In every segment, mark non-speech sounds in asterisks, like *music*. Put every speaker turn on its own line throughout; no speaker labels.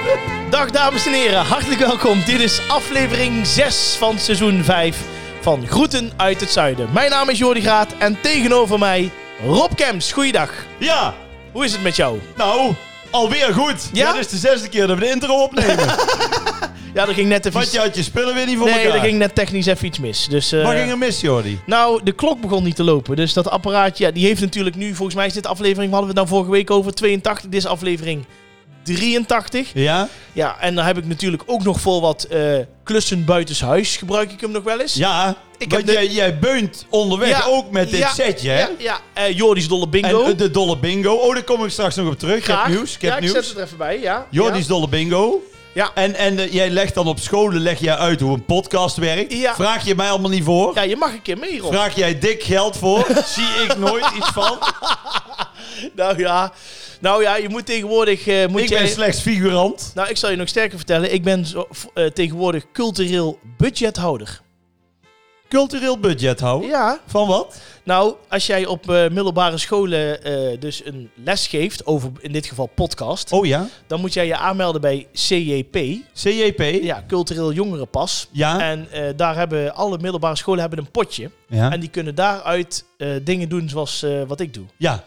Goedendag dames en heren, hartelijk welkom. Dit is aflevering 6 van seizoen 5 van Groeten uit het Zuiden. Mijn naam is Jordi Graat en tegenover mij Rob Kems. Goeiedag.
Ja,
Hoe is het met jou?
nou, alweer goed.
Ja?
Dit is de zesde keer dat we de
*laughs*
intro opnemen.
Ja, er ging net even...
Want je had je spullen weer niet voor
Nee,
elkaar.
er ging net technisch even iets mis. Dus, eh,
Wat ging er mis, Jordi?
Nou, de klok begon niet te lopen. Dus dat apparaatje, ja, die heeft natuurlijk nu... Volgens mij is dit aflevering, we hadden we het dan vorige week over, 82. Dit is aflevering 83.
Ja?
Ja, en dan heb ik natuurlijk ook nog voor wat eh, klussen buitenshuis. Gebruik ik hem nog wel eens.
Ja,
Ik
want
heb de-
jij, jij beunt onderweg
Ja,
ook met dit
ja,
setje, hè?
Ja, ja. Eh, Jordi's Dolle
En
Bingo.
eh, de dolle bingo. Oh, daar kom ik straks nog op terug. Ik heb
Graag.
nieuws, ik heb
ja,
nieuws.
ik zet het er even bij, ja.
Jordi's dolle bingo.
Ja.
En, en eh, jij legt dan op scholen leg jij uit hoe een podcast werkt.
Ja.
Vraag je mij allemaal niet voor.
Ja. ja, je mag een keer mee, Rob.
Vraag jij dik geld
*laughs*
voor. Zie ik nooit iets van.
Nou ja. nou ja, je moet tegenwoordig... eh, moet
ik
jij...
ben slechts figurant.
Nou, ik zal je nog sterker vertellen. Ik ben zo, v- eh, tegenwoordig cultureel budgethouder.
Cultureel budget houden.
Ja.
Van wat?
Nou, als jij op eh, middelbare scholen eh, dus een les geeft over in dit geval podcast,
Oh ja.
dan moet jij je aanmelden bij CJP,
CJP.
ja, cultureel jongerenpas.
Ja.
En eh, daar hebben alle middelbare scholen hebben een potje.
Ja.
En die kunnen daaruit eh, dingen doen zoals eh, wat ik doe.
ja.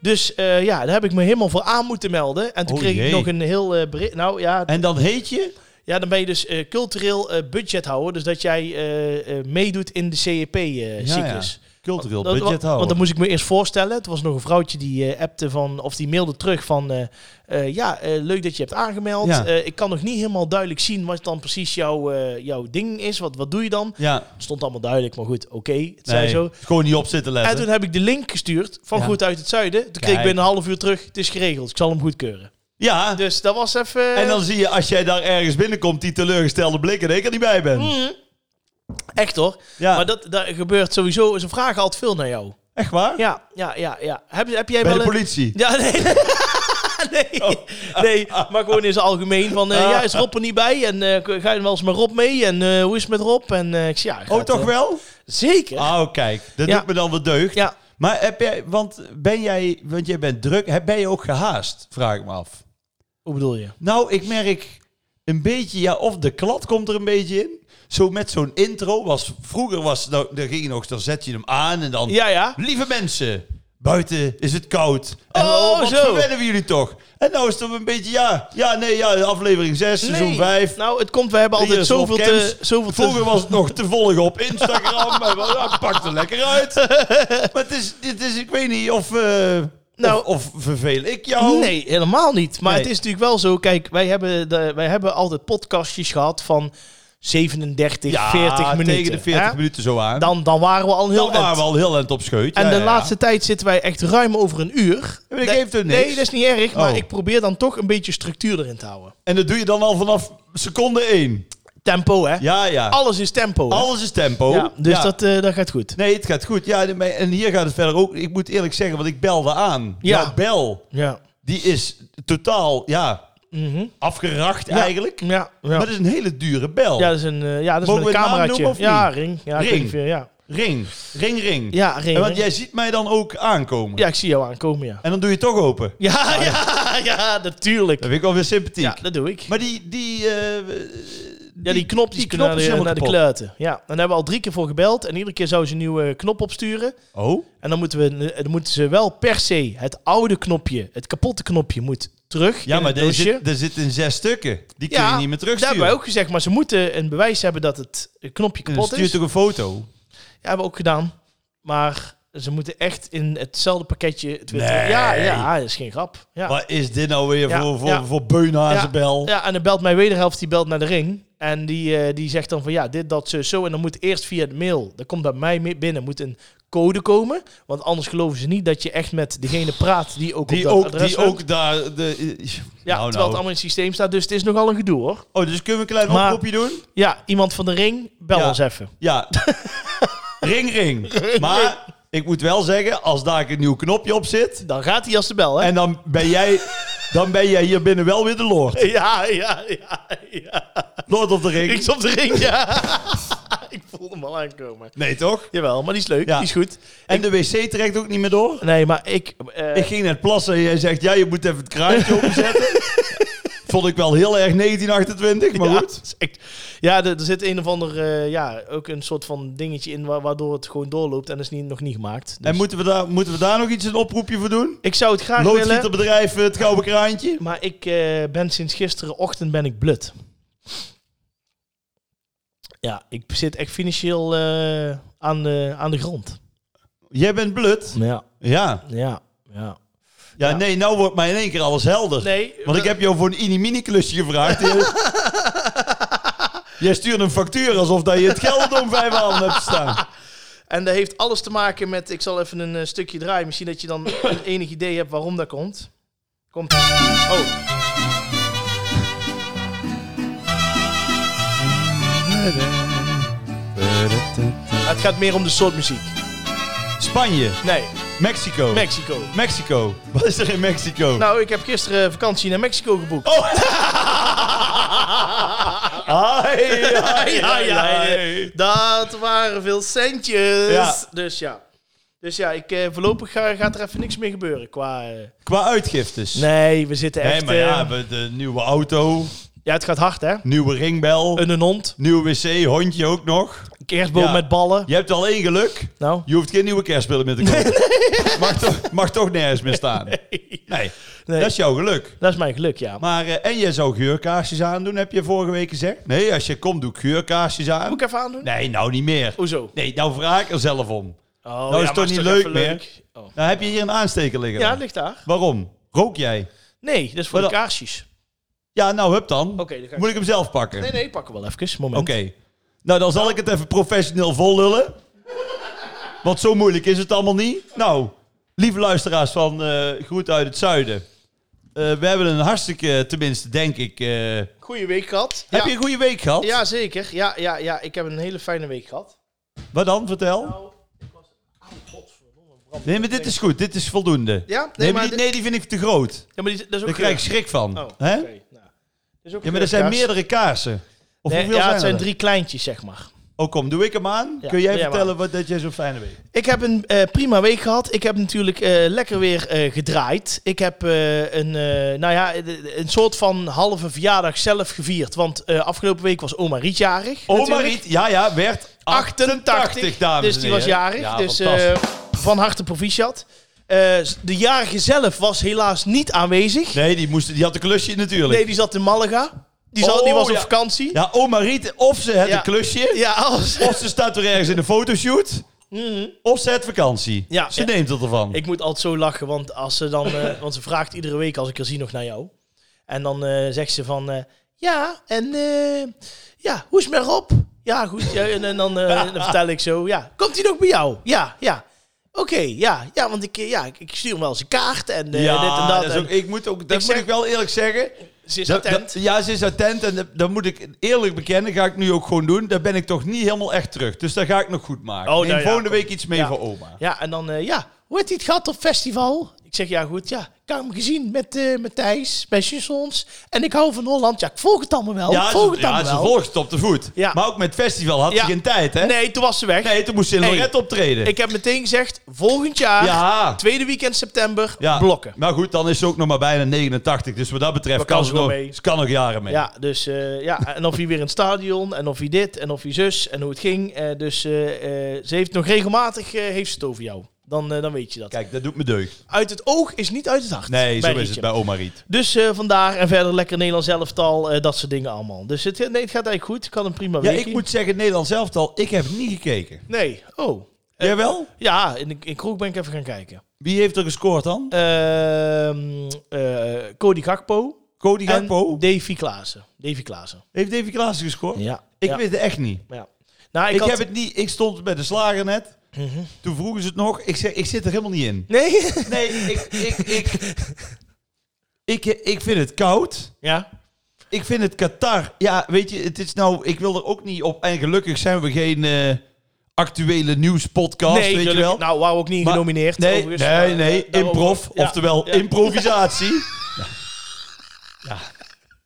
Dus eh, ja, daar heb ik me helemaal voor aan moeten melden. En toen
Oh
kreeg
jee.
ik nog een heel eh, bericht. Nou ja,
En dan heet je?
ja, dan ben je dus eh, cultureel eh, budget houden. Dus dat jij eh, eh, meedoet in de
Ja,
CEP-cyclus.
Cultureel
eh, Dat-
budget
wa- Want dan
houden.
moest ik me eerst voorstellen. Het was nog een vrouwtje die eh appte van, of die mailde terug van, eh, eh, ja, eh, leuk dat je hebt aangemeld.
Ja.
Eh, ik kan nog niet helemaal duidelijk zien wat dan precies jouw, eh, jouw ding is. Wat, wat doe je dan?
Ja.
Het stond allemaal duidelijk, maar goed, oké, het
Nee,
zei zo.
Gewoon niet op zitten
En
letten.
toen heb ik de link gestuurd van
Ja.
Goed uit het Zuiden. Toen kreeg ik
Kijk.
binnen een half uur terug, het is geregeld, ik zal hem goedkeuren.
ja.
Dus dat was even...
En dan zie je als jij daar ergens binnenkomt die teleurgestelde blikken dat ik er niet bij ben.
Mm. Echt hoor.
Ja.
Maar dat, dat gebeurt sowieso. Ze vragen altijd veel naar jou.
Echt waar?
Ja, ja, ja, ja. Heb, heb jij
Bij de
wel een...
politie. Oh.
Ja, nee. *laughs* nee. nee, maar gewoon in zijn algemeen. Van, eh,
Ah.
ja, is Rob er niet bij? En eh, ga je wel eens met Rob mee? En eh, hoe is het met Rob? En eh, ik zeg, ja...
Oh,
gaat,
toch
eh,
wel?
Zeker.
Oh, kijk. Dat
Ja.
doet me dan wel deugd.
Ja.
Maar heb jij, want ben jij, want jij bent druk, heb- ben je ook gehaast? Vraag ik me af.
Hoe bedoel je?
Nou, ik merk een beetje, ja, of de klad komt er een beetje in. Zo met zo'n intro was, vroeger was, nou, dan ging je nog, dan zet je hem aan en dan
Ja, ja.
Lieve mensen, buiten is het koud. En
Oh,
wat
zo.
verwennen we jullie toch? En nou is het een beetje ja, ja, nee, ja, aflevering 6, seizoen
Nee.
5.
Nou, het komt, we hebben altijd zoveel te, zoveel te...
Vroeger was het nog te volgen op Instagram. maar wel, ja, pakt er lekker
*laughs*
uit. Maar het is, dit is ik weet niet of, eh,
Nou.
of, of verveel ik jou.
Nee, helemaal niet. Nou, Maar
Nee.
het is natuurlijk wel zo. Kijk, wij hebben, de, wij hebben altijd podcastjes gehad van 37,
Ja,
40 minuten.
tegen de 40
hè?
minuten zo aan. Dan,
Dan, dan waren we al een heel
waren
eind.
we al heel end op scheut.
En
ja,
de
ja,
laatste tijd zitten wij echt ruim over een uur.
Ja, maar dat geeft ook niks.
Nee, dat is niet erg. Maar
Oh.
ik probeer dan toch een beetje structuur erin te houden.
Ja. En dat doe je dan al vanaf seconde 1.
Tempo, hè?
Ja, ja.
Alles is tempo. hè?
Alles is tempo.
Ja, dus
Ja.
Dat, eh, dat gaat goed.
Nee, het gaat goed. Ja, maar- en hier gaat het verder ook. Ik moet eerlijk zeggen, want ik belde aan.
Ja.
Jouw bel,
Ja.
die is totaal, ja,
Mhm.
afgeracht
Ja.
eigenlijk.
Ja, ja.
Maar het is een hele dure bel.
ja, dat is een, eh, ja, dat is
Mogen
met een
we het naam
cameraatje.
noemen of
ja,
niet?
ring. Ja,
Ring.
ongeveer, ja.
Ring, ring, ring.
Ja, ring.
En want
ring.
jij ziet mij dan ook aankomen.
Ja, ik zie jou aankomen, ja.
En dan doe je het toch open.
Ja, ja, ja, natuurlijk.
Ah, Dat vind ik alweer sympathiek.
Ja, dat doe ik.
Maar die, die, eh,
Ja, die knop die, kunnen naar, de, naar de kluiten. Ja, en daar hebben we al drie keer voor gebeld. En iedere keer zou ze een nieuwe knop opsturen.
Oh,
En dan moeten, we, dan moeten ze wel per se het oude knopje, het kapotte knopje, moet terug.
ja,
in
maar
het
er
doosje.
zit, er zit in zes stukken. Die kun je
Ja,
niet meer
Daar
terugsturen.
hebben wij ook gezegd, maar ze moeten een bewijs hebben dat het knopje
En dan
kapot
stuur
is.
toch een foto?
Ja, hebben we ook gedaan. Maar ze moeten echt in hetzelfde pakketje het weer
Nee.
terug- Ja, ja, dat is geen grap. Ja.
Wat is dit nou weer
Ja,
voor, voor,
ja.
voor beunhazenbel?
Ja, en dan belt mijn wederhelft, die belt naar de ring. En die, eh, die zegt dan van ja, dit, dat, zo, zo. En dan moet eerst via het mail, dat komt bij mij mee binnen, moet een code komen. Want anders geloven ze niet dat je echt met degene praat die ook op
Die
dat
ook,
adres
die
woont.
ook Nou, daar... De, ja,
Ja, terwijl het allemaal in het systeem staat. Dus het is nogal een gedoe hoor.
Oh, dus kunnen we een klein
Maar-
oproepje doen?
Ja, iemand van de ring, bel
Ja.
ons even. *laughs*
Ja. ring, ring. Maar ik moet wel zeggen, als daar een nieuw knopje op zit...
Dan gaat hij als de bel hè?
En dan ben jij, dan ben jij hier binnen wel weer de lord.
*laughs* Ja, ja, ja, ja.
Lord op de
Ik
ring.
zat op de ring, ja. *laughs* Ik voelde hem al aankomen.
Nee, toch?
Jawel, maar die is leuk,
Ja.
die is goed.
En de wc trekt ook niet meer door?
Nee, maar ik... eh, *laughs*
Ik ging net plassen en jij zegt, ja, je moet even het kraantje openzetten. vond ik wel heel erg 1928, maar
*laughs* ja,
goed.
het is echt- ja, er, er zit een of ander, eh, ja, ook een soort van dingetje in wa- waardoor het gewoon doorloopt en is niet, nog niet gemaakt. Dus
En moeten we, daar, moeten we daar nog iets een oproepje voor doen?
ik zou het graag willen,
Loodgieterbedrijf, eh, het Gouden Kraantje.
maar ik eh, ben sinds gisterenochtend ben ik blut. Ja, ik zit echt financieel eh, aan, de, aan de grond.
Jij bent blut.
Ja,
Ja.
ja, ja.
ja.
Ja.
nee, nou wordt mij in één keer alles helder.
Nee,
Want ik heb jou voor een mini-klusje gevraagd.
*laughs*
Jij stuurt een factuur alsof dat je het geld om vijf handen hebt staan.
En dat heeft alles te maken met. Ik zal even een eh, stukje draaien. Misschien dat je
*coughs*
dan een enig idee hebt waarom dat komt. Komt. Oh. Het gaat meer om de soort muziek.
Spanje,
Nee,
Mexico.
Mexico.
Mexico. Wat is er in Mexico?
Nou, ik heb gisteren vakantie naar Mexico geboekt. *laughs*
Oh. Ai, ai,
*laughs* ja,
ai,
ja,
ai.
Dat waren veel centjes.
Ja.
Dus ja. Dus ja, ik, eh, voorlopig ga- gaat er even niks meer gebeuren qua... eh,
Qua uitgiftes.
Nee, we zitten echt...
Nee, maar ja,
eh,
we- de nieuwe auto,
ja, het gaat hard, hè?
nieuwe ringbel,
Een, een hond,
nieuwe wc, hondje ook nog.
een kerstboom
Ja.
met ballen.
Je hebt al één geluk.
Nou?
Je hoeft geen nieuwe kerstspullen meer te kopen. Mag, toch, mag toch nergens meer staan.
Nee,
Nee, dat is jouw geluk.
dat is mijn geluk, ja.
Maar, eh, en jij zou geurkaarsjes aandoen, heb je vorige week gezegd? Nee, als je komt, doe ik geurkaarsjes aan.
Moet ik even aandoen?
Nee, nou niet meer.
Hoezo?
Nee, nou vraag ik er zelf om.
Oh,
is toch
maar
niet
even
leuk meer?
Oh.
Nou heb je hier een aansteker liggen.
Ja, ligt daar.
Waarom? Rook jij?
Nee, dat is voor
Maar
de kaarsjes.
Ja, nou hup dan.
Oké, dan ga ik-
Moet ik hem zelf pakken?
Nee, nee, pakken we wel even. Moment.
Oké. Nou, dan zal ik het even professioneel vol lullen. Want zo moeilijk is het allemaal niet. Nou, lieve luisteraars van eh Groet uit het Zuiden. Eh, we hebben een hartstikke, tenminste denk ik... eh,
Goeie week gehad.
Heb
ja.
je een goede week gehad?
Ja, zeker. Ja, ja, ja, ik heb een hele fijne week gehad.
Wat dan? Vertel.
Nou, ik was... Oh, godverdomme. brand.
nee, maar dit is goed. Dit is voldoende.
Ja? Nee,
nee, maar
maar
die,
dit-
nee, die vind ik te groot.
Ja, maar die, dat is ook...
Daar krijg ik schrik van.
Oh,
Hè?
oké, nou. Dat is ook
Ja, maar er zijn
geurkaars.
meerdere kaarsen. Of
Nee,
hoeveel
ja,
zijn
het zijn
er?
drie kleintjes, zeg maar.
Oh, kom, doe ik hem aan.
Ja,
Kun jij
doe jij
vertellen wat, dat jij zo'n fijne week
Ik heb een eh, prima week gehad. Ik heb natuurlijk eh, lekker weer eh, gedraaid. Ik heb eh, een, eh, nou ja, een- een soort van halve verjaardag zelf gevierd. Want eh, afgelopen week was oma Riet jarig.
Oma
natuurlijk.
Riet, ja, ja, werd 88, dames
Dus die
en heren.
was jarig.
Ja,
dus
fantastisch.
eh, van harte proficiat. Eh, de jarige zelf was helaas niet aanwezig. Nee,
Nee, die, moest, die had een klusje natuurlijk.
die zat in Malaga. Die, zat,
Oh,
die was op
ja.
vakantie. Ja,
Ja, oma Riet, of ze het
Ja.
een klusje,
alles.
of ze staat er ergens in een fotoshoot,
*laughs* Mhm.
of ze het vakantie.
Ja,
ze
ja.
neemt het ervan.
Ik moet altijd zo lachen, want, als ze dan, eh, want ze vraagt iedere week als ik er zie nog naar jou. En dan eh, zegt ze van, eh, ja, en eh, ja, hoe is het met Rob? Ja, goed. Ja, en, en dan, eh, dan vertel ik zo, ja, komt hij nog bij jou? Ja, ja. Oké, ja, ja, want ik, eh, ja, ik- ik stuur hem wel eens een kaart en eh,
ja,
dit en dat.
dat is
en
ook, ik moet ook, dat
Ik
moet
zeg-
ik wel eerlijk zeggen.
ze is
Dat-
attent.
dat- ja, ze is attent en dat, dat moet ik eerlijk bekennen, ga ik nu ook gewoon doen. Daar ben ik toch niet helemaal echt terug, dus daar ga ik nog goed maken.
Oh,
Neem
nou ja,
volgende
kom.
week iets mee
Ja.
voor oma.
Ja, en dan, eh, ja, hoe heet die het gat op festival? Ik zeg, ja goed, ja, ik heb hem gezien met, eh met Thijs, bij Sussons. En ik hou van Holland. Ja, ik volg het allemaal wel. ik
Ja,
Oh, volg
ze,
het
ja,
allemaal
ze
wel.
volgt het op de voet.
Ja.
Maar ook met festival had
Ja.
ze geen tijd, hè?
Nee, toen was ze weg.
Nee, toen moest ze in
Hey.
Lorette optreden.
Ik heb meteen gezegd, volgend jaar,
ja.
tweede weekend september,
Ja,
blokken.
Maar goed, dan is ze ook nog maar bijna 89. Dus wat dat betreft
Maar kan
kan
ze
ze
wel
nog,
mee.
ze kan nog jaren mee.
Ja, dus eh, ja, en of hij weer in het stadion, en of hij dit, en of hij zus, en hoe het ging. Eh, dus eh, eh, ze heeft nog regelmatig eh, heeft ze het over jou. Dan, eh, dan weet je dat.
Kijk, dat doet me deugd.
Uit het oog is niet uit het hart.
Nee, zo
bij
is
Rietje.
het bij oma Riet.
Dus eh, vandaar en verder lekker Nederlands elftal, eh, dat soort dingen allemaal. Dus het, nee, het gaat eigenlijk goed. Ik had een prima
Ja,
week.
ik moet zeggen, Nederland zelf al, ik heb niet gekeken.
Nee, oh.
Jawel?
Ja, in de in kroeg ben ik even gaan kijken.
Wie heeft er gescoord dan?
Eh, Ehm, eh, Cody Gakpo.
Cody Gakpo?
En Davy Klaassen. Davy Klaassen.
Heeft David Klaassen gescoord?
Ja.
Ik
ja.
weet het echt niet.
ja. Nou, ik,
Ik,
had... Mhm.
heb het niet. Ik stond bij de slager net. Toen vroegen ze het nog. Ik zeg, ik zit er helemaal niet in.
Nee?
Nee, ik... Ik, ik, ik, ik vind het koud.
ja.
Ik vind het Qatar. Ja, weet je, het is nou. Ik wil er ook niet op. En gelukkig zijn we geen eh, actuele nieuwspodcast.
nee,
weet je
gelukkig-
wel?
Nou, wou ook niet
Maar-
genomineerd.
nee,
overigens.
nee,
Eh,
nee.
daarover-
improv.
Ja,
Oftewel
ja.
improvisatie.
*laughs*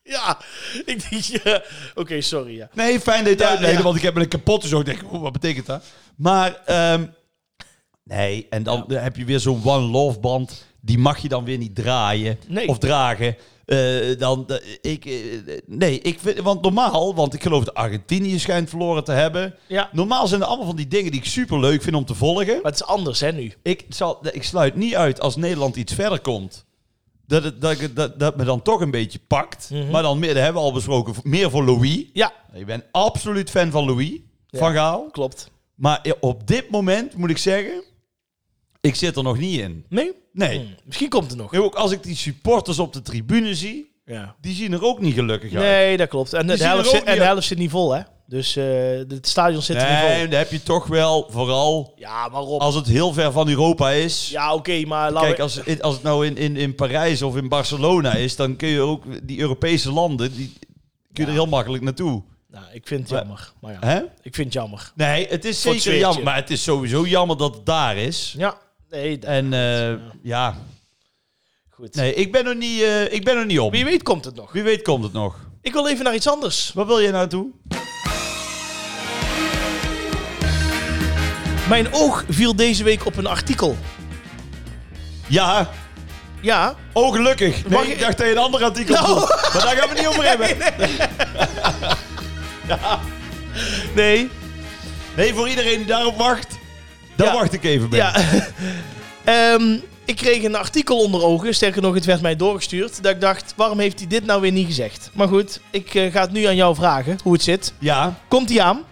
Ja, ik denk, *laughs* ja. oké, sorry. Ja.
Nee, fijn dat je het
Ja,
uitlegde,
ja.
want ik heb me een kapot dus ook denk ik, oeh, wat betekent dat? Maar ehm, nee, en dan heb je weer zo'n one love band. Die mag je dan weer niet draaien
Nee.
of dragen. eh, dan, eh, ik, eh, nee, ik vind, want normaal, want ik geloof dat Argentinië schijnt verloren te hebben.
Ja.
Normaal zijn er allemaal van die dingen die ik super leuk vind om te volgen.
Maar het is anders, hè, nu.
Ik, zal, ik sluit niet uit als Nederland iets verder komt. Dat, het, dat, ik- dat, dat me dan toch een beetje pakt.
Mhm.
Maar dan meer, dat hebben we al besproken, meer voor Louis.
Ja,
Ik ben absoluut fan van Louis
Ja.
van Gaal.
klopt.
Maar op dit moment moet ik zeggen, ik zit er nog niet in.
Nee?
Nee.
Hm, Misschien komt het nog.
Ook als ik die supporters op de tribune zie,
Ja.
die zien er ook niet gelukkig uit.
Nee, dat klopt. En de,
zien er
helft
ook
zit, en
niet
de
uit.
helft zit niet vol, hè? Dus eh, het stadion zit er niet
Nee,
vol.
dan heb je toch wel, vooral
Ja, maar Rob.
als het heel ver van Europa is.
Ja, oké, maar laten
Kijk,
we...
als, het- als het nou in, in, in Parijs of in Barcelona is, dan kun je ook die Europese landen, die kun je er heel makkelijk naartoe.
Nou, ik vind het
Maar-
jammer. Maar ja,
Hè?
ik vind het jammer.
Nee, het is
Voor het
zeker jammer,
sfeertje.
maar het is sowieso jammer dat het daar is.
Ja, nee, dat-
En eh, ja,
goed.
nee, ik ben er niet, eh, ik ben er niet op.
Wie weet komt het nog.
Wie weet komt het nog.
Ik wil even naar iets anders.
Waar wil je naartoe?
Mijn oog viel deze week op een artikel.
Ja,
Ja,
oh gelukkig. Nee,
Mag ik-
ik dacht dat je een ander artikel
Nou.
vond. Maar daar gaan we het *laughs* niet over hebben.
nee,
Nee, voor iedereen die daarop wacht, daar
Ja.
wacht ik even mee.
ja. *laughs* Ehm, ik kreeg een artikel onder ogen, sterker nog, het werd mij doorgestuurd. Dat ik dacht, waarom heeft hij dit nou weer niet gezegd? Maar goed, ik eh, ga het nu aan jou vragen, hoe het zit.
Ja.
Komt hij aan?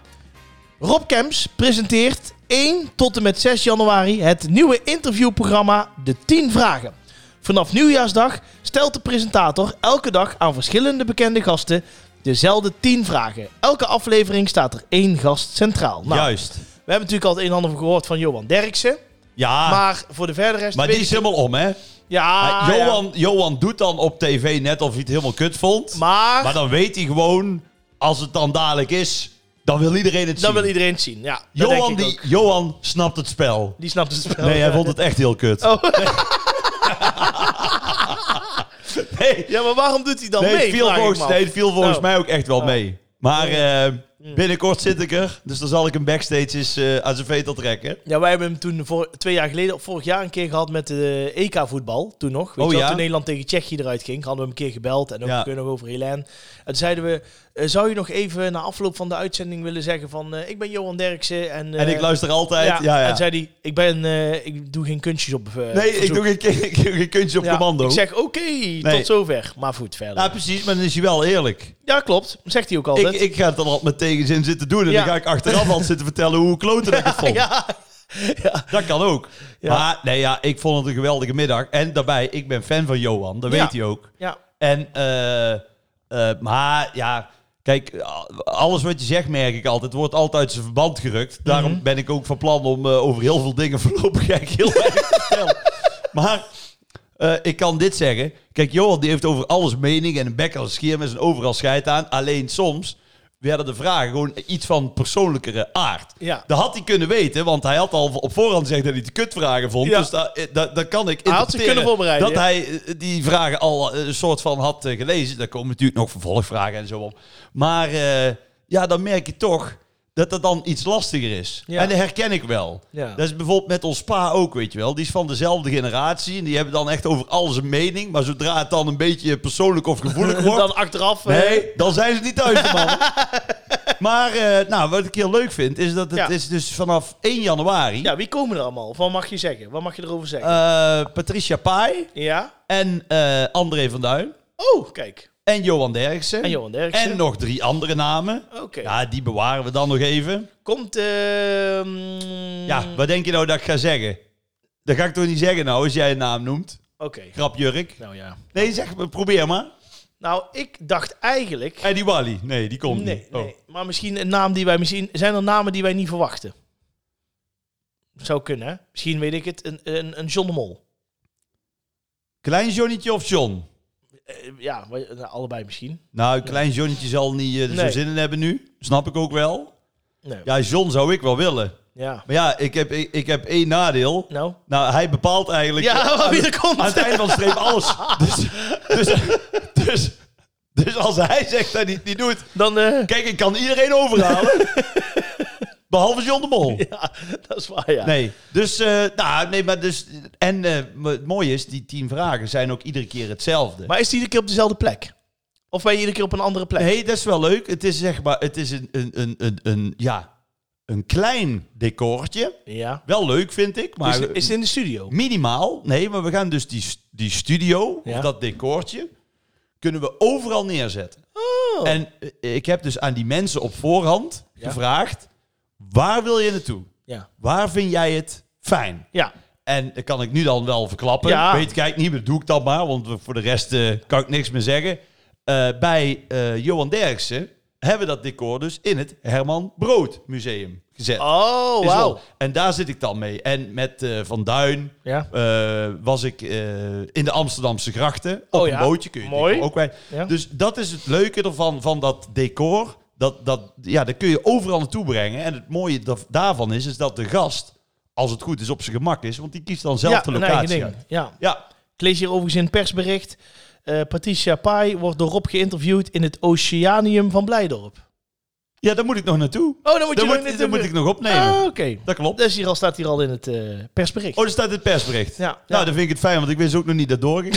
Rob Kemps presenteert 1 tot en met 6 januari het nieuwe interviewprogramma De 10 Vragen. Vanaf nieuwjaarsdag stelt de presentator elke dag aan verschillende bekende gasten dezelfde 10 vragen. Elke aflevering staat er één gast centraal. Nou,
juist.
we hebben natuurlijk al het een en ander van gehoord van Johan Derksen.
Ja, Ah. maar,
Maar voor de verdere rest... weet
die is
ik-
helemaal om, hè?
Ja,
Hij-
ja.
Johan, Johan doet dan op tv net of hij het helemaal kut vond. Maar,
Maar,
dan weet hij gewoon, als het dan dadelijk is, dan wil iedereen het
dan
zien.
wil iedereen het zien. Ja, dat
Johan,
denk ik
die,
ook.
Johan snapt het spel.
Die snapt het spel.
Nee, hij vond het echt heel kut.
Oh. *laughs*
Nee,
Ja, maar waarom doet hij dan
nee,
mee?
het viel
vraag ik me
volgens,
af.
nee, het viel volgens
Oh.
mij ook echt wel
Oh.
mee. Maar eh, binnenkort zit ik er, dus dan zal ik hem backstage eens eh, aan zijn vetel trekken.
Ja, wij hebben hem toen voor, twee jaar geleden, of vorig jaar, een keer gehad met de EK-voetbal. Toen nog. Weet je
Oh,
wel,
ja?
Toen Nederland tegen Tsjechië eruit ging, hadden we hem een keer gebeld. En ook
Ja.
kun nog over Helen. En toen zeiden we, eh, zou je nog even na afloop van de uitzending willen zeggen van... eh, ik ben Johan Derksen en... eh,
en ik luister altijd. Ja, ja,
En zei hij, ik, ben, eh, ik doe geen kunstjes op eh,
nee, ik
verzoek."
doe geen, *laughs* ik doe geen kuntje op
Ja,
commando.
Ik zeg, oké, tot zover. Maar goed, verder.
ja,
Ja,
precies, maar dan is hij wel eerlijk.
klopt. Zegt hij ook altijd.
Ik, ik ga het dan altijd met tegenzin zitten doen. En
Ja.
dan ga ik achteraf al zitten vertellen hoe kloten *laughs* ik het vond.
ja,
Dat kan ook.
Ja.
Maar nee, ja, ik vond het een geweldige middag. En daarbij, ik ben fan van Johan. Dat
Ja.
weet hij ook.
ja,
En, eh, eh, maar ja, kijk, alles wat je zegt merk ik altijd, wordt altijd uit zijn verband gerukt. Daarom
Mhm.
ben ik ook van plan om eh, over heel veel dingen *laughs* voorlopig eigenlijk heel weinig te vertellen. Maar eh, ik kan dit zeggen. Kijk, Johan die heeft over alles mening en een bek als een schier met zijn overal scheid aan. Alleen soms werden de vragen gewoon iets van persoonlijkere aard.
ja.
Dat had hij kunnen weten, want hij had al op voorhand gezegd dat hij de kutvragen vond.
Ja.
Dus daar da, da kan ik
Hij had zich
interpreteren
kunnen voorbereiden,
Dat
ja.
hij eh, die vragen al eh, een soort van had eh, gelezen. Daar komen natuurlijk nog vervolgvragen en zo op. Maar eh, ja, dan merk je toch dat dat dan iets lastiger is.
Ja.
En dat herken ik wel.
Ja.
Dat is bijvoorbeeld met ons pa ook, weet je wel. Die is van dezelfde generatie en die hebben dan echt over alles een mening. Maar zodra het dan een beetje persoonlijk of
*laughs*
gevoelig wordt...
Dan achteraf... eh,
Nee, dan zijn ze niet thuis, de
*laughs*
mannen. maar eh, nou, wat ik heel leuk vind, is dat het
Ja.
is dus vanaf 1 januari...
ja, wie komen er allemaal? Wat mag je zeggen? Wat mag je erover zeggen?
eh, Patricia Pai
ja?
en eh, André van Duin
Oh, kijk.
en Johan Derksen.
En Johan Derksen.
En nog drie andere namen.
Oké.
Ja, die bewaren we dan nog even.
Komt... ehm
Ja, wat denk je nou dat ik ga zeggen? Dat ga ik toch niet zeggen nou, als jij een naam noemt?
Oké.
Grapjurk.
Nou ja.
Nee, zeg maar, probeer maar.
Nou, ik dacht eigenlijk...
En die Wally. Nee, die komt
nee,
niet. Oh.
nee. Maar misschien een naam die wij misschien... Zijn er namen die wij niet verwachten? Zou kunnen, hè? Misschien weet ik het. Een, een, een John de Mol.
Klein Johnnetje of John?
Eh, ja, we- nou, allebei misschien.
Nou, klein Johnnetje zal niet eh, er
Nee.
zo zin in hebben nu. Snap ik ook wel.
Nee. Ja.
Ja, John zou ik wel willen. Maar ja, ik heb, ik, ik heb één nadeel.
Nou?
Nou, hij bepaalt eigenlijk
Ja, maar wie er komt.
aan het eind van de streep alles. Dus, dus, dus, dus als hij zegt dat hij het niet doet...
Dan... eh, *laughs*
Kijk, ik kan iedereen overhalen. Behalve John de Mol.
Ja, dat is waar, ja.
Nee, dus, eh, nou, nee, maar dus, en eh, maar het mooie is, die tien vragen zijn ook iedere keer hetzelfde.
Maar is het iedere keer op dezelfde plek? Of ben je iedere keer op een andere plek?
nee, dat is wel leuk. Het is zeg maar, het is een, een, een, een, een ja, een klein decoortje.
Ja.
Wel leuk, vind ik, maar
is, is het in de studio?
minimaal. Nee, maar we gaan dus die, st- die studio,
Ja.
of dat decoortje, kunnen we overal neerzetten.
Oh.
En eh, ik heb dus aan die mensen op voorhand
Ja.
gevraagd, waar wil je naartoe?
Ja.
Waar vind jij het fijn?
Ja.
En dat kan ik nu dan wel verklappen.
Ja.
Weet kijk niet, maar doe ik dat maar. Want voor de rest eh, kan ik niks meer zeggen. Eh, bij eh, Johan Derksen hebben we dat decor dus in het Herman Brood Museum gezet.
Oh,
Is
wauw.
wel- En daar zit ik dan mee. En met eh, Van Duin
Ja.
eh, was ik eh, in de Amsterdamse grachten. Op
Oh
een
ja.
bootje kun je het
Mooi.
decor ook bij.
Ja.
Dus dat is het leuke ervan, van dat decor. Dat, dat, ja, dat kun je overal naartoe brengen. En het mooie da- daarvan is, is dat de gast, als het goed is, op zijn gemak is. Want die kiest dan zelf
ja,
de
een eigen
locatie.
ding.
uit.
Ja.
Ja,
Ik lees hier overigens in het persbericht. eh, Patricia Pai wordt door Rob geïnterviewd in het Oceanium van Blijdorp.
ja, daar moet ik nog naartoe.
Oh, dan moet je
Daar
nog
moet,
net
daar
in-
moet ik nog opnemen.
Ah, oké.
Dat klopt.
Dat is hier al, staat hier al in het eh, persbericht.
Oh, daar staat het persbericht.
Ja, ja.
Nou, dan vind ik het fijn, want ik wist ook nog niet dat
*laughs*
het doorging.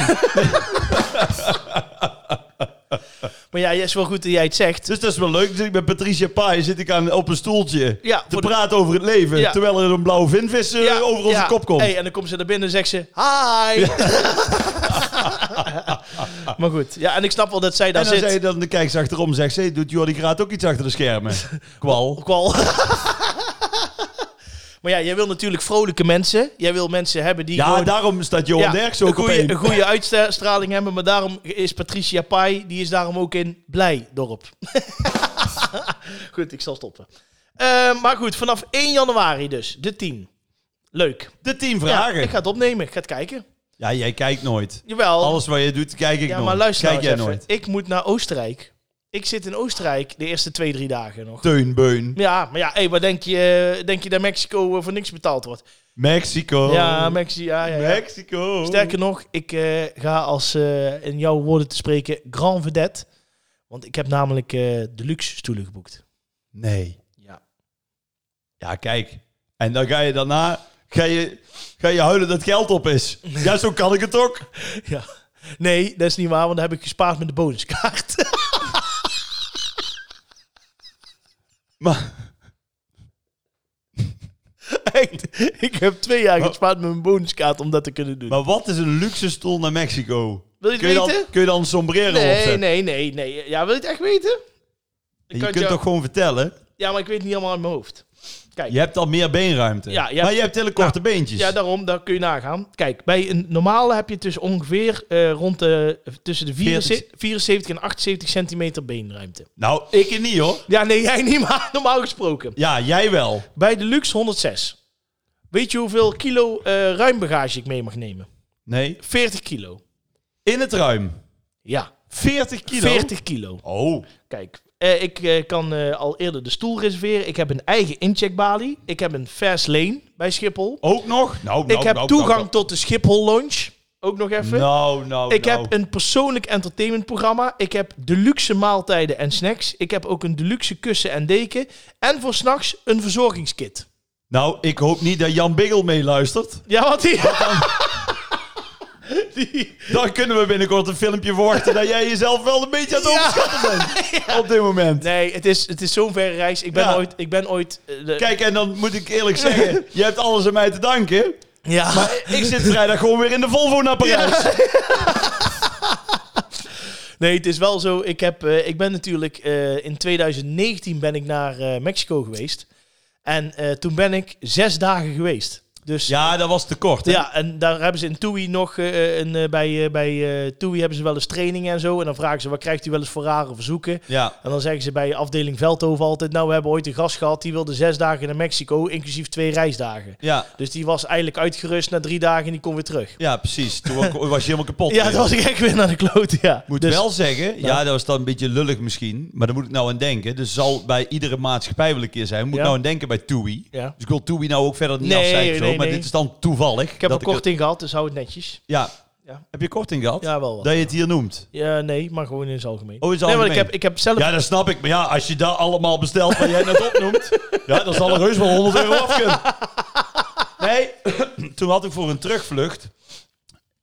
Maar ja, het is wel goed dat jij het zegt.
dus dat is wel leuk. Dus ik ben Patricia Pai, zit ik aan, op een stoeltje
Ja,
te
voor de-
praten over het leven.
Ja.
Terwijl er een blauwe vinvis eh, over onze
ja.
kop komt.
Hey, en dan komt ze naar binnen en zegt ze, hi. *laughs* maar goed, ja, en ik snap wel dat zij daar
en dan
zit.
zei je dan de kijkers achterom zegt, hey, doet Jordi Graat ook iets achter de
*laughs*
schermen? Kwal.
Ook wel. maar ja, jij wil natuurlijk vrolijke mensen. Jij wil mensen hebben die
*laughs* Ja,
gewoon
daarom staat Johan
ja,
Derks ook
een,
op
goede,
één.
een goede uitstraling hebben. Maar daarom is Patricia Pai, die is daarom ook in Blijdorp. *laughs* goed, ik zal stoppen. Eh, maar goed, vanaf 1 januari dus, de 10. Leuk.
De tien
Ja,
vragen.
ik ga het opnemen, ik ga het kijken.
Ja, jij kijkt nooit.
Jawel.
Alles wat je doet, kijk ik
ja,
nooit.
maar luister
kijk
nou
jij
eens even.
nooit.
Ik moet naar Oostenrijk. Ik zit in Oostenrijk de eerste twee, drie dagen nog.
Teun Beun.
Ja, maar ja, hey, wat denk je, eh, denk je dat Mexico eh, voor niks betaald wordt?
Mexico.
Ja, Mexico. Ja, ja, ja.
Oh. Mexico.
Oh. Sterker nog, ik eh, ga als, eh, in jouw woorden te spreken, grand vedette. Want ik heb namelijk eh, de luxe stoelen geboekt. *laughs*
Nee.
Ja.
Ja, kijk. En dan ga je daarna... Ga je, ga je huilen dat geld op
*laughs*
is. Ja, zo kan ik het ook.
ja. Nee, dat is niet waar, want dat heb ik gespaard met de bonuskaart. *laughs*
Maar...
Echt, ik heb twee jaar
Maar-
gespaard met mijn bonuskaart om dat te kunnen doen.
Maar wat is een luxe stoel naar Mexico?
Wil je het
kun, je dan,
weten?
kun je dan een sombrero
nee,
opzetten?
nee, nee, nee. Ja, wil je het echt weten?
En
kan
je
het
kunt
jou-
toch gewoon vertellen?
Ja, maar ik weet het niet allemaal uit mijn hoofd. Kijk,
Je hebt al meer beenruimte.
Ja, je hebt-
maar je hebt hele korte beentjes.
ja, daarom, daar kun je nagaan. Kijk, bij een normale heb je dus ongeveer eh, rond de, tussen de
40.
74, 74 en 78 centimeter beenruimte.
Nou, ik niet hoor.
Ja, nee, jij niet, *laughs* maar normaal gesproken.
Ja, jij wel.
Bij de luxe 106. Weet je hoeveel kilo eh ruimbagage ik mee mag nemen?
Nee.
40 kilo.
In het ruim.
Ja,
40 kilo.
40 kilo.
Oh.
Kijk, eh, ik eh, kan eh, al eerder de stoel reserveren. Ik heb een eigen incheckbalie. Ik heb een fast lane bij Schiphol.
Ook nog? Nou, nou,
ik heb
nou,
toegang
nou,
tot de Schiphol Lounge. Ook nog even.
Nou, nou,
ik
nou.
heb een persoonlijk entertainmentprogramma. Ik heb deluxe maaltijden en snacks. Ik heb ook een deluxe kussen en deken. En voor s'nachts een verzorgingskit.
Nou, ik hoop niet dat Jan Biggel meeluistert.
Ja, want die... *laughs* die...
Dan kunnen we binnenkort een filmpje verwachten dat jij jezelf wel een beetje aan het
Ja.
overschatten bent. Op dit moment.
Nee, het is, het is zo'n verre reis. Ik ben
Ja.
ooit... Ik ben ooit eh, de-
Kijk, en dan moet ik eerlijk zeggen, je hebt alles aan mij te danken.
ja.
Maar ik zit vrijdag gewoon weer in de Volvo naar Parijs.
Nee, het is wel zo. Ik, heb, eh, ik ben natuurlijk eh, in 2019 ben ik naar eh, Mexico geweest. En eh, toen ben ik zes dagen geweest. Dus
Ja, dat was te kort. hè?
Ja, en daar hebben ze in TUI nog, eh, een, eh, bij, eh, bij eh, TUI hebben ze wel eens trainingen en zo. En dan vragen ze, wat krijgt u wel eens voor rare verzoeken?
ja.
En dan zeggen ze bij afdeling Veldhoven altijd, nou we hebben ooit een gast gehad, die wilde zes dagen naar Mexico, inclusief twee reisdagen.
ja.
Dus die was eigenlijk uitgerust na drie dagen en die kon weer terug.
Ja, precies. Toen *laughs* wa- was je helemaal kapot.
Ja, dat was ik echt weer naar de klote, ja.
Moet
Dus-
wel zeggen, ja, dat was dan een beetje lullig misschien, maar daar moet ik nou aan denken. Dus zal bij iedere maatschappij wel een keer zijn. Moet
Ja.
nou aan denken bij TUI.
Ja.
Dus ik wil TUI nou ook verder niet
Nee,
afzeiken, zo,
nee,
maar
nee.
dit is dan toevallig.
Ik heb
dat
er korting gehad, dus hou het netjes.
Ja,
Ja.
Heb je korting gehad?
Ja, wel wat.
Dat je het hier noemt.
Ja, nee, maar gewoon in het algemeen.
Oh, is
nee, maar ik
algemeen.
heb, ik heb zelf...
Ja, dat snap ik. Maar ja, als je dat allemaal bestelt wat jij net opnoemt, ja, dan zal er heus wel 100 euro af kunnen. Nee, *clears throat* toen had ik voor een terugvlucht.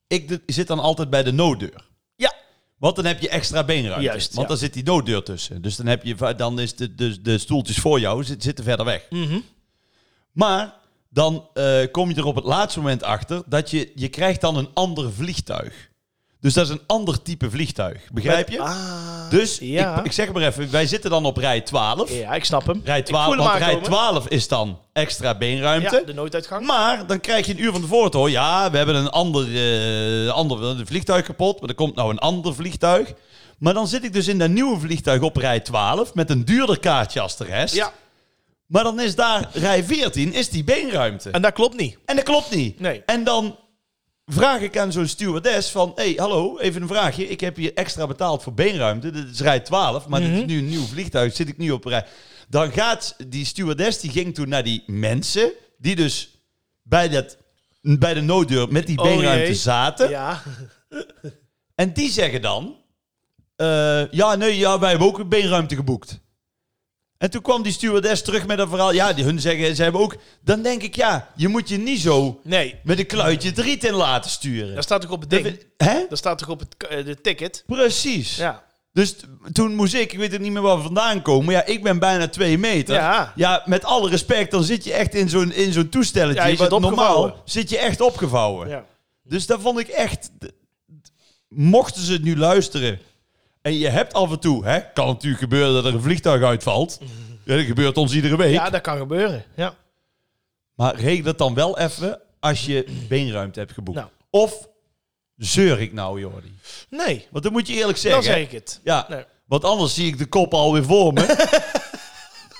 Ik d- zit dan altijd bij de nooddeur.
Ja.
Want dan heb je extra beenruimte.
Juist,
Want
ja.
dan zit die nooddeur tussen. Dus dan, heb je, va- dan is de, de, de stoeltjes voor jou zit- zitten verder weg.
Mhm.
Maar dan eh, kom je er op het laatste moment achter dat je, je krijgt dan een ander vliegtuig. Dus dat is een ander type vliegtuig. Begrijp je?
Ah,
Dus
ja.
ik, ik zeg maar even, wij zitten dan op rij 12.
ja, ik snap hem.
Rij 12,
voel hem
want rij
aankomen.
12 is dan extra
Ja, dus-
beenruimte.
de nooduitgang.
Maar dan krijg je een uur van tevoren te horen, ja, we hebben een ander, eh, ander een vliegtuig kapot, maar er komt nou een ander vliegtuig. Maar dan zit ik dus in dat nieuwe vliegtuig op rij 12 met een duurder kaartje als de rest.
ja,
Maar dan is daar rij 14, is die beenruimte.
en dat klopt niet.
En dat klopt niet.
Nee.
En dan vraag ik aan zo'n stewardess van... Hé, hey, hallo, even een vraagje. Ik heb hier extra betaald voor beenruimte. Dit is rij 12, maar
Mhm.
dit is nu een nieuw vliegtuig. Zit ik nu op rij... Dan gaat die stewardess, die ging toen naar die mensen... die dus bij, dat, bij de nooddeur met die
Oh,
beenruimte
jee.
zaten.
Ja,
En die zeggen dan... eh, ja, nee, ja, wij hebben ook een beenruimte geboekt. En toen kwam die stewardess terug met een verhaal. Ja, die, hun zeggen, ze hebben ook... Dan denk ik, ja, je moet je niet zo
nee.
met een kluitje het riet in laten sturen.
Dat staat toch op het ding?
Hè?
Dat staat toch op het eh, de ticket?
Precies.
Ja.
Dus t- toen moest ik, ik weet ook niet meer waar we vandaan komen, maar ja, ik ben bijna twee meter.
Ja.
met alle respect, dan zit je echt in zo'n, in zo'n toestelletje.
Ja, je zit
Want normaal
opgevouwen.
zit je echt opgevouwen.
ja.
Dus dat vond ik echt... d- d- Mochten ze het nu luisteren, en je hebt af en toe, hè, kan natuurlijk gebeuren dat er een vliegtuig
*laughs*
uitvalt. Ja, dat gebeurt ons iedere week.
Ja, dat kan gebeuren. Ja.
Maar regel dat dan wel even als je beenruimte hebt geboekt.
Nou.
Of zeur ik nou, Jordi?
Nee,
Want dan moet je eerlijk
dan
zeggen.
zeg ik het.
Ja,
Nee.
want anders zie ik de kop alweer
*laughs*
voor me.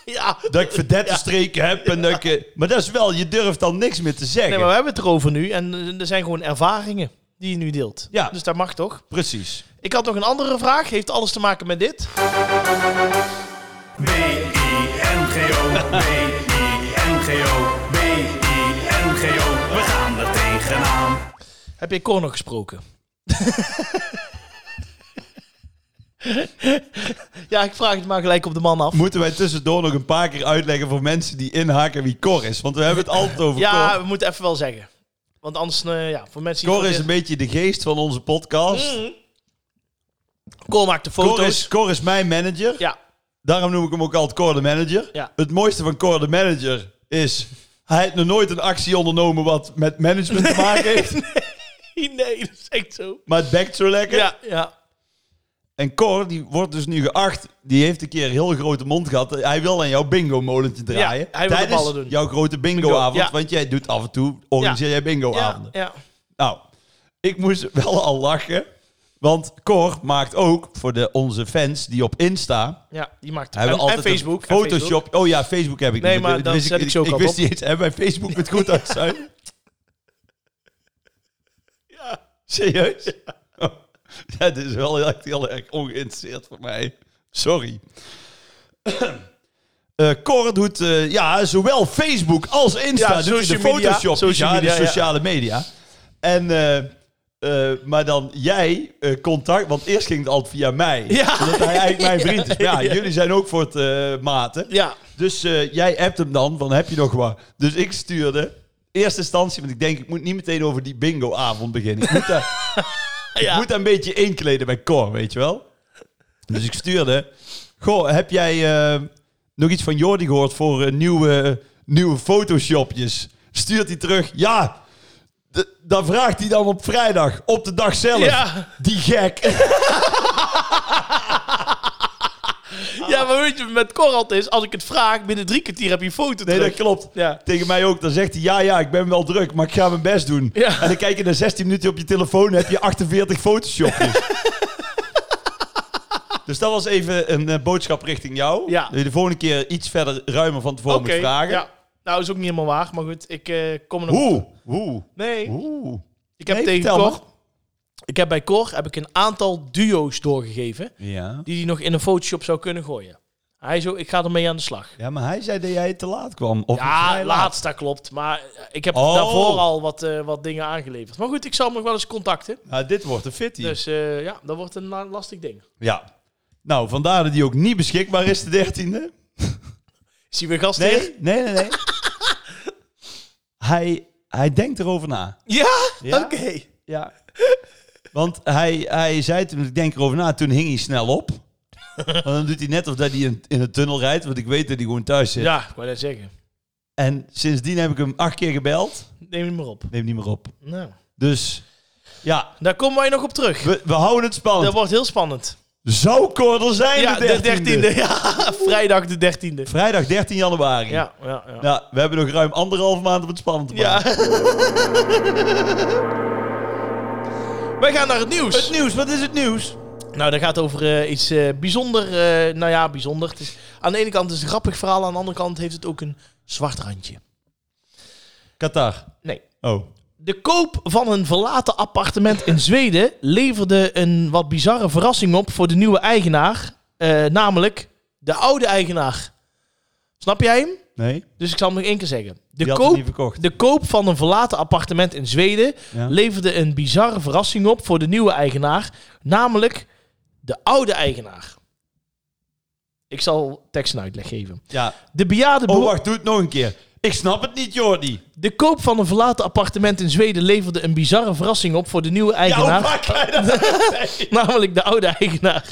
Ja.
dat ik verdette streken heb. En dat ik, eh, maar dat is wel, je durft dan niks meer te zeggen.
Nee, maar we hebben het erover nu. En eh, er zijn gewoon ervaringen die je nu deelt.
Ja.
Dus dat mag toch?
Precies.
Ik had nog een andere vraag. Heeft alles te maken met dit?
B-I-N-G-O, B-I-N-G-O, B-I-N-G-O, we gaan er tegenaan.
Heb je Cor nog gesproken? *laughs* ja, ik vraag het maar gelijk op de man af.
Moeten wij tussendoor nog een paar keer uitleggen voor mensen die inhaken wie Cor is? Want we hebben het altijd over
Ja,
Cor.
we moeten even wel zeggen. Want anders, eh, ja, Mm-hmm. voor mensen die...
Cor is een beetje de geest van onze podcast.
Cor maakt de foto's.
Cor is, Cor is mijn manager. *laughs*
Ja,
Daarom noem ik hem ook altijd Cor de Manager.
Ja.
Het mooiste van Cor de Manager is... Hij heeft nog nooit een actie ondernomen wat met management te
*laughs*
maken heeft.
nee, dat is echt zo.
Maar het bekt zo lekker.
Ja, ja.
En Cor, die wordt dus nu geacht. Die heeft een keer een heel grote mond gehad. Hij wil aan jouw bingo-molentje draaien.
Ja, hij wil de
Tijdens
ballen doen.
jouw grote bingo-avond.
Bingo, ja.
Want jij doet af en toe, organiseer jij
Ja,
bingo-avonden.
ja.
Nou, ik moest wel al lachen. Want Cor maakt ook, voor de, onze fans die op Insta...
ja, die maakt
Hebben
en, en
een
Facebook. en
Photoshop. Oh ja, Facebook heb ik
Nee,
niet.
maar
Dat
dan
wist
zet ik ze ook
Ik
al
wist
op.
niet eens, hebben wij Facebook het goed uit zijn?
*laughs* Ja.
Serieus? Ja. dat is wel echt heel erg ongeïnteresseerd voor mij. Sorry. *clears throat* Eh Cor doet eh, ja, zowel Facebook als Insta.
Ja,
doet hij de
social media.
Photoshop.
Social
ja, de
media, ja.
sociale media. En, eh, eh, maar dan jij eh, contact, want eerst ging het altijd via mij.
Ja.
Omdat hij eigenlijk
*laughs*
mijn vriend is. Maar ja, jullie zijn ook voor het eh, maten.
Ja,
Dus eh, jij appt hem dan, van heb je nog wat? Dus ik stuurde, eerste instantie, want ik denk, ik moet niet meteen over die bingo-avond
*laughs*
beginnen. Ik moet daar, ik
ja.
moet daar een beetje inkleden bij Cor, weet je wel? Dus ik stuurde, goh, heb jij eh, nog iets van Jordi gehoord voor eh, nieuwe, nieuwe photoshopjes? Stuurt hij terug, ja, D- dan vraagt hij dan op vrijdag, op de dag zelf.
Ja.
Die gek.
ja, maar weet je, met Cor altijd is, als ik het vraag, binnen drie kwartier heb je een foto
Nee,
terug.
dat klopt.
Ja.
Tegen mij ook. Dan zegt hij, ja, ja, ik ben wel druk, maar ik ga mijn best doen.
Ja.
En dan kijk je naar 16 minuten op je telefoon en heb je
*laughs*
48 photoshopjes. dus dat was even een eh, boodschap richting jou.
Ja.
Dat je de volgende keer iets verder ruimer van tevoren
Oké,
moet vragen.
ja. Nou, is ook niet helemaal waar, maar goed, ik eh, kom er nog...
Hoe? Hoe?
Nee,
Hoe?
ik heb
Nee,
tegen
vertel
Cor... Ik heb bij Cor heb ik een aantal duo's doorgegeven
Ja.
die hij nog in een Photoshop zou kunnen gooien. Hij zo, ik ga ermee aan de slag.
Ja, maar hij zei dat jij te laat kwam. Of
Ja,
vrij
laatst, dat klopt. Maar eh, ik heb
Oh.
daarvoor al wat, eh, wat dingen aangeleverd. Maar goed, ik zal hem nog wel eens contacten.
Nou, dit wordt een fitty.
Dus eh, ja, dat wordt een la- lastig ding.
Ja. Nou, vandaar dat die ook niet beschikbaar is, de dertiende.
Is hij weer gastheer?
Nee, nee, nee. nee. hij, hij denkt erover na.
Ja?
Ja?
Oké.
Ja. Want hij, hij zei toen, ik denk erover na, toen hing hij snel op. Want dan doet hij net of dat hij in, in een tunnel rijdt, want ik weet dat hij gewoon thuis zit.
Ja, ik wou net zeggen.
En sindsdien heb ik hem acht keer gebeld.
Neem hem maar op.
Neem niet meer op.
Nou,
Dus ja,
daar komen wij nog op terug.
we, we houden het
Dat
spannend.
wordt heel spannend.
Zou Cordel zijn
Ja, de 13e. Ja, vrijdag de 13e.
Vrijdag 13 januari.
Ja, ja, ja.
Nou, we hebben nog ruim anderhalf maand om het spannend te
Ja.
maken.
*laughs* Wij gaan naar het nieuws.
Het nieuws, wat is het nieuws?
Nou, dat gaat over eh, iets eh, bijzonder. eh, nou ja, bijzonder. Het is, aan de ene kant is het een grappig verhaal, aan de andere kant heeft het ook een zwart randje.
Qatar.
Nee.
Oh.
De koop van een verlaten appartement in *laughs* Zweden leverde een wat bizarre verrassing op voor de nieuwe eigenaar. eh, namelijk de oude eigenaar. Snap jij hem?
Nee,
Dus ik zal hem nog één keer zeggen. De
die had het
koop
niet verkocht.
De koop van een verlaten appartement in Zweden
Ja.
leverde een bizarre verrassing op voor de nieuwe eigenaar, namelijk de oude eigenaar. Ik zal tekst en uitleg geven.
Ja.
De bejaarde
Oh,
bewo-
wacht, doe het nog een keer. Ik snap het niet, Jordi.
De koop van een verlaten appartement in Zweden leverde een bizarre verrassing op voor de nieuwe
Ja, oh
eigenaar.
pak
*laughs*
jij dat?
namelijk de oude eigenaar.